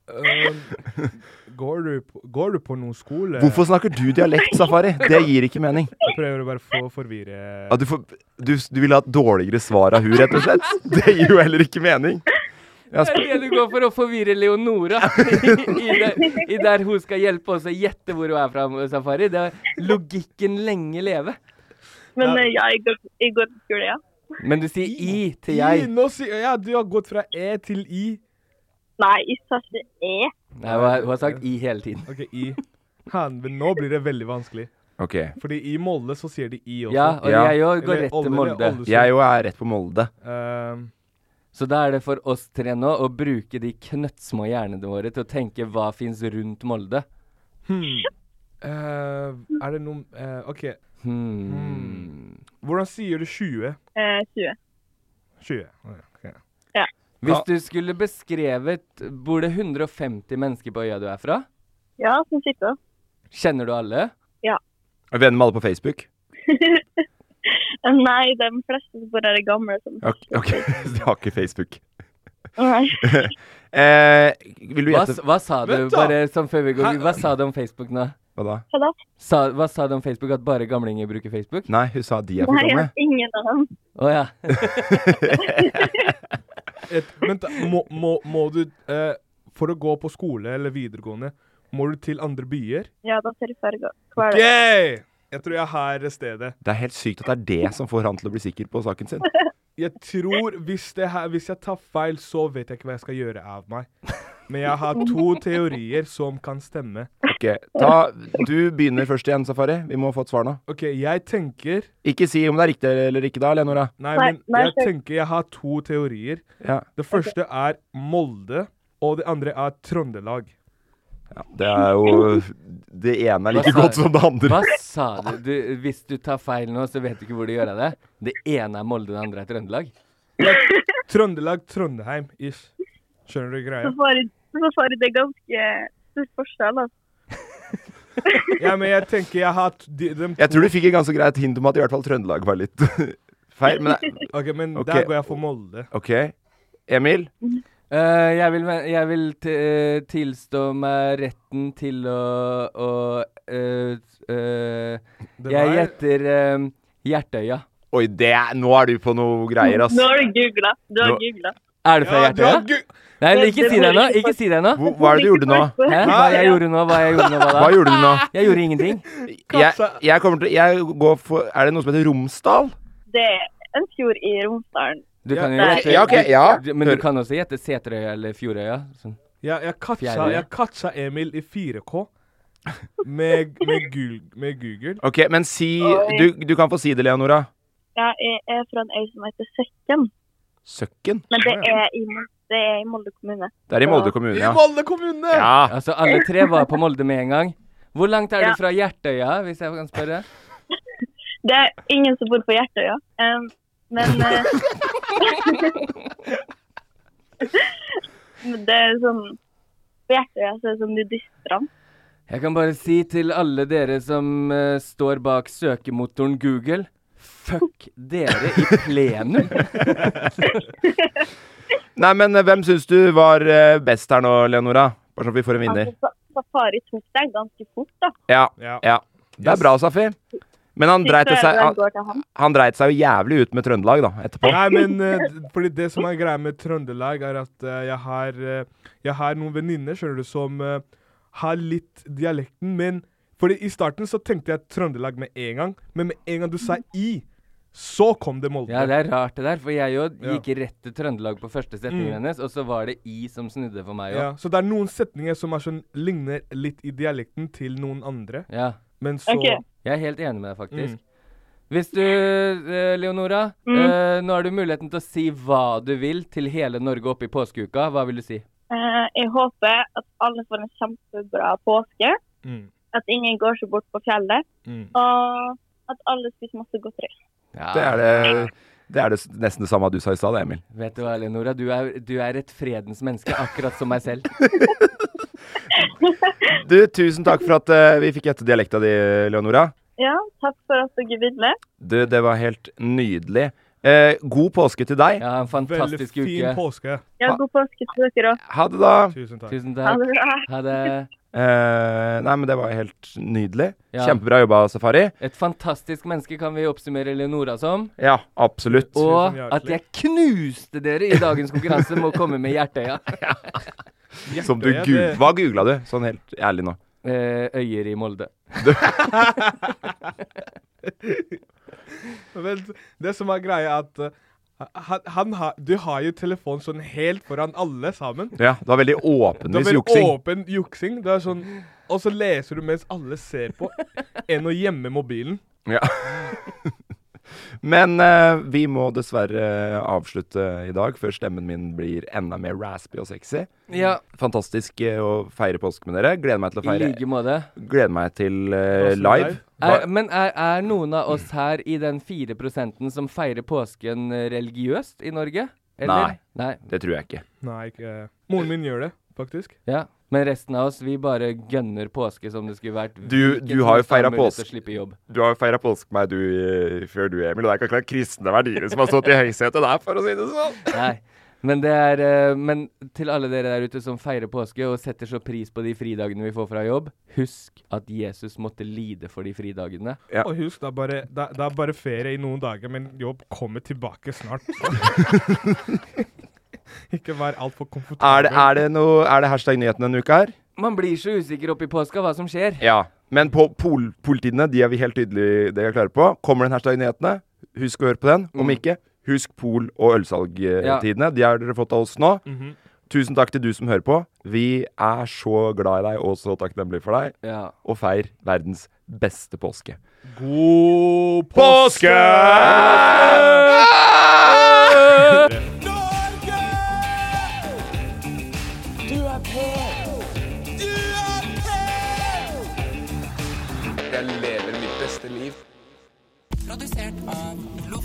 [SPEAKER 4] Eh, går, du på, går du på noen
[SPEAKER 3] du
[SPEAKER 4] skole?
[SPEAKER 3] òg. Hvorfor snakker du dialekt, Safari? Det gir ikke mening.
[SPEAKER 4] Jeg prøver å bare få forvirre
[SPEAKER 3] Ja, du, får, du, du vil ha et dårligere svar av hun, rett og
[SPEAKER 4] *laughs*
[SPEAKER 3] slett? Det gir jo heller ikke mening. Jeg
[SPEAKER 2] Det er
[SPEAKER 3] spør,
[SPEAKER 2] det du går for å forvirre Leonora i, i, det, i der hun skal hjelpe oss å gjette hvor hun er fra, Safari. Det er logikken lenge leve.
[SPEAKER 11] Men eh, ja, jeg går, jeg går på skole, ja.
[SPEAKER 2] Men du sier i til jeg.
[SPEAKER 4] I, nå si, ja, du har gått fra E til I.
[SPEAKER 11] Nei, jeg sa ikke E.
[SPEAKER 2] Nei, hun har- hun har sagt i hele tiden.
[SPEAKER 4] OK, I. Han, men nå blir det veldig vanskelig.
[SPEAKER 3] OK.
[SPEAKER 4] Fordi i Molde så sier de I også.
[SPEAKER 2] Ja, og
[SPEAKER 3] Ja.
[SPEAKER 2] jeg òg går
[SPEAKER 4] Eller
[SPEAKER 2] rett
[SPEAKER 4] Ål-
[SPEAKER 2] til
[SPEAKER 4] eller
[SPEAKER 2] Molde.
[SPEAKER 4] Ålesund.
[SPEAKER 3] Jeg òg er rett på Molde.
[SPEAKER 4] Ehm,
[SPEAKER 2] Så da er det for oss tre nå å bruke de knøttsmå hjernene våre til å tenke hva fins rundt Molde.
[SPEAKER 4] Hmm. Eh, er det noe eh, OK. Hmm. Hvordan sier du 20?
[SPEAKER 11] Eh, 20.
[SPEAKER 4] 20. ok.
[SPEAKER 11] Ja.
[SPEAKER 2] Hvis du skulle beskrevet Bor det 150 mennesker på øya du er fra?
[SPEAKER 11] Ja, som sitter.
[SPEAKER 2] Kjenner du alle?
[SPEAKER 11] Ja.
[SPEAKER 3] Er Venner med alle på Facebook?
[SPEAKER 11] *laughs* Nei, de fleste som bor her er gamle. Som.
[SPEAKER 3] OK, *laughs* okay. du har ikke Facebook.
[SPEAKER 11] Nei.
[SPEAKER 3] *laughs* eh, vil du
[SPEAKER 2] Hva,
[SPEAKER 3] gjette
[SPEAKER 2] s- hva sa du,
[SPEAKER 3] Vent da!
[SPEAKER 2] bare sånn før vi går Hva sa du om Facebook nå?
[SPEAKER 3] Hva da?
[SPEAKER 11] Hva da?
[SPEAKER 2] Sa, hva sa du om Facebook? At bare gamlinger bruker Facebook?
[SPEAKER 3] Nei, hun sa de
[SPEAKER 11] Nei, jeg vet ingen av dem.
[SPEAKER 2] Å ja.
[SPEAKER 4] *laughs* Et, vent, da, må, må, må du eh, For å gå på skole eller videregående, må du til andre byer?
[SPEAKER 11] Ja, da ser jeg ferdig hver
[SPEAKER 4] OK!
[SPEAKER 11] dag.
[SPEAKER 4] Jeg tror jeg har stedet.
[SPEAKER 3] Det er helt sykt at det er det som får han til å bli sikker på saken
[SPEAKER 11] *laughs*
[SPEAKER 3] sin.
[SPEAKER 4] Jeg tror hvis, det her, hvis jeg tar feil, så vet jeg ikke hva jeg skal gjøre av meg. Men jeg har to teorier som kan stemme.
[SPEAKER 3] Ok, ta, Du begynner først igjen, Safari. Vi må få et svar nå.
[SPEAKER 4] OK, jeg tenker
[SPEAKER 3] Ikke si om det er riktig eller ikke, da, Lenora.
[SPEAKER 4] Nei,
[SPEAKER 3] Nei,
[SPEAKER 4] men
[SPEAKER 3] nei,
[SPEAKER 4] jeg
[SPEAKER 3] kjør.
[SPEAKER 4] tenker jeg har to teorier.
[SPEAKER 3] Ja.
[SPEAKER 4] Det første er Molde, og det andre er Trøndelag.
[SPEAKER 3] Det er jo Det ene er
[SPEAKER 2] Hva
[SPEAKER 3] like
[SPEAKER 2] sa-
[SPEAKER 3] godt som det andre.
[SPEAKER 2] Hva sa du? du? Hvis du tar feil nå, så vet du ikke hvor du gjør av det. Det ene er Molde, det andre er Trøndelag.
[SPEAKER 4] Trøndelag, Trøndeheim, ish. Skjønner du greia?
[SPEAKER 11] *laughs* Så får jeg- Så får jeg det ganske stor forskjell, altså.
[SPEAKER 4] Ja, men jeg tenker jeg har t- de, dem
[SPEAKER 3] Jeg tror du fikk et ganske greit hint om at i hvert fall Trøndelag var litt *laughs* feil, men det-
[SPEAKER 4] OK, men
[SPEAKER 3] Ok.
[SPEAKER 4] der går jeg for Molde.
[SPEAKER 3] OK. Emil?
[SPEAKER 2] Eh, jeg vil, ve- jeg vil t eh, tilstå meg retten til å, å eh, eh,
[SPEAKER 3] Det
[SPEAKER 2] Jeg
[SPEAKER 3] var-
[SPEAKER 2] gjetter eh, Hjertøya.
[SPEAKER 3] Oi, det er, nå er du på noe greier, ass.
[SPEAKER 11] Nå har du googla. Du har
[SPEAKER 3] Nå-
[SPEAKER 11] googla.
[SPEAKER 2] Er du fra
[SPEAKER 3] Ja, du har
[SPEAKER 2] Hjertøya? Nei,
[SPEAKER 3] Det-
[SPEAKER 2] ikke
[SPEAKER 3] det
[SPEAKER 2] si
[SPEAKER 3] må
[SPEAKER 2] det
[SPEAKER 3] du
[SPEAKER 2] nå.
[SPEAKER 3] ikke
[SPEAKER 2] Ikke si det nå.
[SPEAKER 3] Hva- hva er det du gjorde nå?
[SPEAKER 2] Hæ? Hva
[SPEAKER 3] Nei.
[SPEAKER 2] jeg gjorde nå? Hva jeg gjorde nå? da?
[SPEAKER 3] Hva gjorde du nå?
[SPEAKER 2] Jeg gjorde ingenting.
[SPEAKER 3] Jeg, jeg kommer til Jeg går for Er det noe som heter Romsdal?
[SPEAKER 11] Det er en fjord i Romsdalen.
[SPEAKER 2] Du kan jo
[SPEAKER 11] Der-
[SPEAKER 2] gjette
[SPEAKER 3] ja, ok, ja.
[SPEAKER 2] du- Men du kan også gjette Seterøya eller Fjordøya. Sånn.
[SPEAKER 4] Ja, jeg catcha,
[SPEAKER 2] Fjerde.
[SPEAKER 4] jeg catcha Emil i 4K med, med, Google, med Google.
[SPEAKER 3] OK, men si du, du kan få si det, Leonora.
[SPEAKER 11] Ja, jeg er fra en øy som heter Søkken.
[SPEAKER 3] Søkken?
[SPEAKER 11] Men det er i, Mol- det er i Molde kommune.
[SPEAKER 3] Det er i Molde kommune, ja.
[SPEAKER 4] kommune!
[SPEAKER 3] Ja.
[SPEAKER 2] Altså, alle tre var på Molde med en gang. Hvor langt er
[SPEAKER 11] Ja.
[SPEAKER 2] du fra Hjertøya, hvis jeg kan spørre?
[SPEAKER 11] Det er ingen som bor på Hjertøya. Um, men eh, *laughs* Men det er sånn På hjertet ja, så er det sånn nudiststrand.
[SPEAKER 2] Jeg kan bare si til alle dere som eh, står bak søkemotoren Google Fuck dere i
[SPEAKER 4] *laughs*
[SPEAKER 2] plenum!
[SPEAKER 3] Nei, men eh, hvem syns du var eh, best her nå, Leonora? Bare så vi får en vinner.
[SPEAKER 11] Altså, sa- Safari tok deg ganske fort, da.
[SPEAKER 3] Ja. ja. Det er bra, Safi. Men han dreit
[SPEAKER 11] Siste
[SPEAKER 3] seg
[SPEAKER 11] øyeblikk
[SPEAKER 3] han,
[SPEAKER 11] går til han.
[SPEAKER 3] han dreit seg jo jævlig ut med Trøndelag, da, etterpå.
[SPEAKER 4] Nei, men eh, d- fordi det som er greia med Trøndelag, er at eh, jeg, har, eh, jeg har noen venninner skjønner du, som eh, har litt dialekten, men fordi I starten så tenkte jeg Trøndelag med en gang, men med en gang du sa i, så kom det Molde.
[SPEAKER 2] Ja, det er rart det der, for jeg jo gikk
[SPEAKER 4] Ja.
[SPEAKER 2] rett til Trøndelag på første setning
[SPEAKER 4] Mm.
[SPEAKER 2] hennes, og så var det I som snudde for meg òg.
[SPEAKER 4] Ja, så det er noen setninger som er sånn, ligner litt i dialekten til noen andre.
[SPEAKER 2] Ja.
[SPEAKER 4] Men så
[SPEAKER 2] Jeg er helt enig med deg, faktisk.
[SPEAKER 4] Mm.
[SPEAKER 2] Hvis du, eh, Leonora,
[SPEAKER 11] Mm.
[SPEAKER 2] eh, nå har du muligheten til å si hva du vil til hele Norge oppe i påskeuka. Hva vil du si?
[SPEAKER 11] Eh, jeg håper at alle får en kjempebra påske.
[SPEAKER 4] Mm.
[SPEAKER 11] At ingen går seg bort på fjellet.
[SPEAKER 4] Mm.
[SPEAKER 11] Og at alle spiser masse godteri.
[SPEAKER 3] Det er det, det er det s- nesten det samme du sa i stad, Emil.
[SPEAKER 2] Vet du hva, Leonora, du er, du er et fredens menneske, akkurat som meg selv.
[SPEAKER 3] Du, tusen takk for at eh, vi fikk gjette dialekta di, Leonora.
[SPEAKER 11] Ja, takk for at dere ville.
[SPEAKER 3] Du, det var helt nydelig. Eh, god påske til deg.
[SPEAKER 2] Ja, en
[SPEAKER 4] fantastisk *laughs* Veldig fin uke. påske.
[SPEAKER 11] Ja, god påske til dere òg.
[SPEAKER 3] Ha det, da.
[SPEAKER 4] Tusen takk.
[SPEAKER 2] Tusen
[SPEAKER 11] Ha det bra.
[SPEAKER 3] Eh, nei, men det var helt nydelig.
[SPEAKER 2] Ja.
[SPEAKER 3] Kjempebra jobba, Safari.
[SPEAKER 2] Et fantastisk menneske kan vi oppsummere Leonora som.
[SPEAKER 3] Ja, absolutt.
[SPEAKER 2] Og at jeg knuste dere i dagens konkurranse med å komme med
[SPEAKER 3] *laughs*
[SPEAKER 2] Hjertøya.
[SPEAKER 3] Som du
[SPEAKER 2] Hjertøya,
[SPEAKER 3] gu-
[SPEAKER 2] det-
[SPEAKER 3] Hva googla du? Sånn helt ærlig nå.
[SPEAKER 2] Eh, øyer i Molde.
[SPEAKER 4] Vel, det som er greia, er at eh, han, han har- du har jo telefon sånn helt foran alle sammen.
[SPEAKER 3] Ja, det var veldig åpenvis
[SPEAKER 4] det er
[SPEAKER 3] juksing.
[SPEAKER 4] åpen juksing. Det er sånn, og så leser du mens alle ser på, enn å gjemme mobilen.
[SPEAKER 3] Ja. *laughs* Men eh, vi må dessverre eh, avslutte i dag, før stemmen min blir enda mer raspy og sexy.
[SPEAKER 2] Ja.
[SPEAKER 3] Fantastisk eh, å feire påske med dere. Gleder meg til å
[SPEAKER 2] I
[SPEAKER 3] feire
[SPEAKER 2] like måte.
[SPEAKER 3] Gleder meg til eh,
[SPEAKER 2] Brasil
[SPEAKER 3] live.
[SPEAKER 2] Er, men er, er noen av oss her i den 4 som feirer påsken eh, religiøst i Norge?
[SPEAKER 3] Nei,
[SPEAKER 2] Eller? Nei.
[SPEAKER 3] det tror jeg ikke.
[SPEAKER 4] Nei, ikke eh, Moren min gjør det, faktisk.
[SPEAKER 2] Ja. Men resten av oss, vi bare gønner påske som det skulle vært.
[SPEAKER 3] Du,
[SPEAKER 2] Hvilket
[SPEAKER 3] du har jo feira
[SPEAKER 2] motstand mulighet til å
[SPEAKER 3] påske
[SPEAKER 2] slippe jobb.
[SPEAKER 3] Du har jo feira påske med meg, du, eh, før du, Emil. Og det er ikke akkurat kristne verdier som har stått i høysetet der, for å si det sånn.
[SPEAKER 2] Nei. Men, det er, eh, men til alle dere der ute som feirer påske og setter så pris på de fridagene vi får fra jobb, husk at Jesus måtte lide for de fridagene.
[SPEAKER 4] Og husk, det er, bare, det, er- det er bare ferie i noen dager, men jobb kommer tilbake
[SPEAKER 3] *laughs*
[SPEAKER 4] snart. ikke vær altfor
[SPEAKER 3] Er
[SPEAKER 4] komfortabel.
[SPEAKER 3] det, er det, noe, er det hashtag nyheten denne uka her?
[SPEAKER 2] Man blir så usikker oppi påska hva som skjer.
[SPEAKER 3] Ja. Men på pol politidene, de er vi helt tydelig det er klare på. Kommer den hashtag nyhetene, husk å høre på den. Om ikke, husk pol- og
[SPEAKER 2] Ja.
[SPEAKER 3] ølsalgtidene. De har dere fått av oss nå.
[SPEAKER 2] Mhm.
[SPEAKER 3] Tusen takk til du som hører på. Vi er så glad i deg og så takknemlige for deg.
[SPEAKER 2] Ja.
[SPEAKER 3] Og feir verdens beste påske.
[SPEAKER 4] God
[SPEAKER 3] påske!
[SPEAKER 6] Du er på! Du er
[SPEAKER 8] Jeg lever mitt beste liv.
[SPEAKER 6] Produsert av Loff.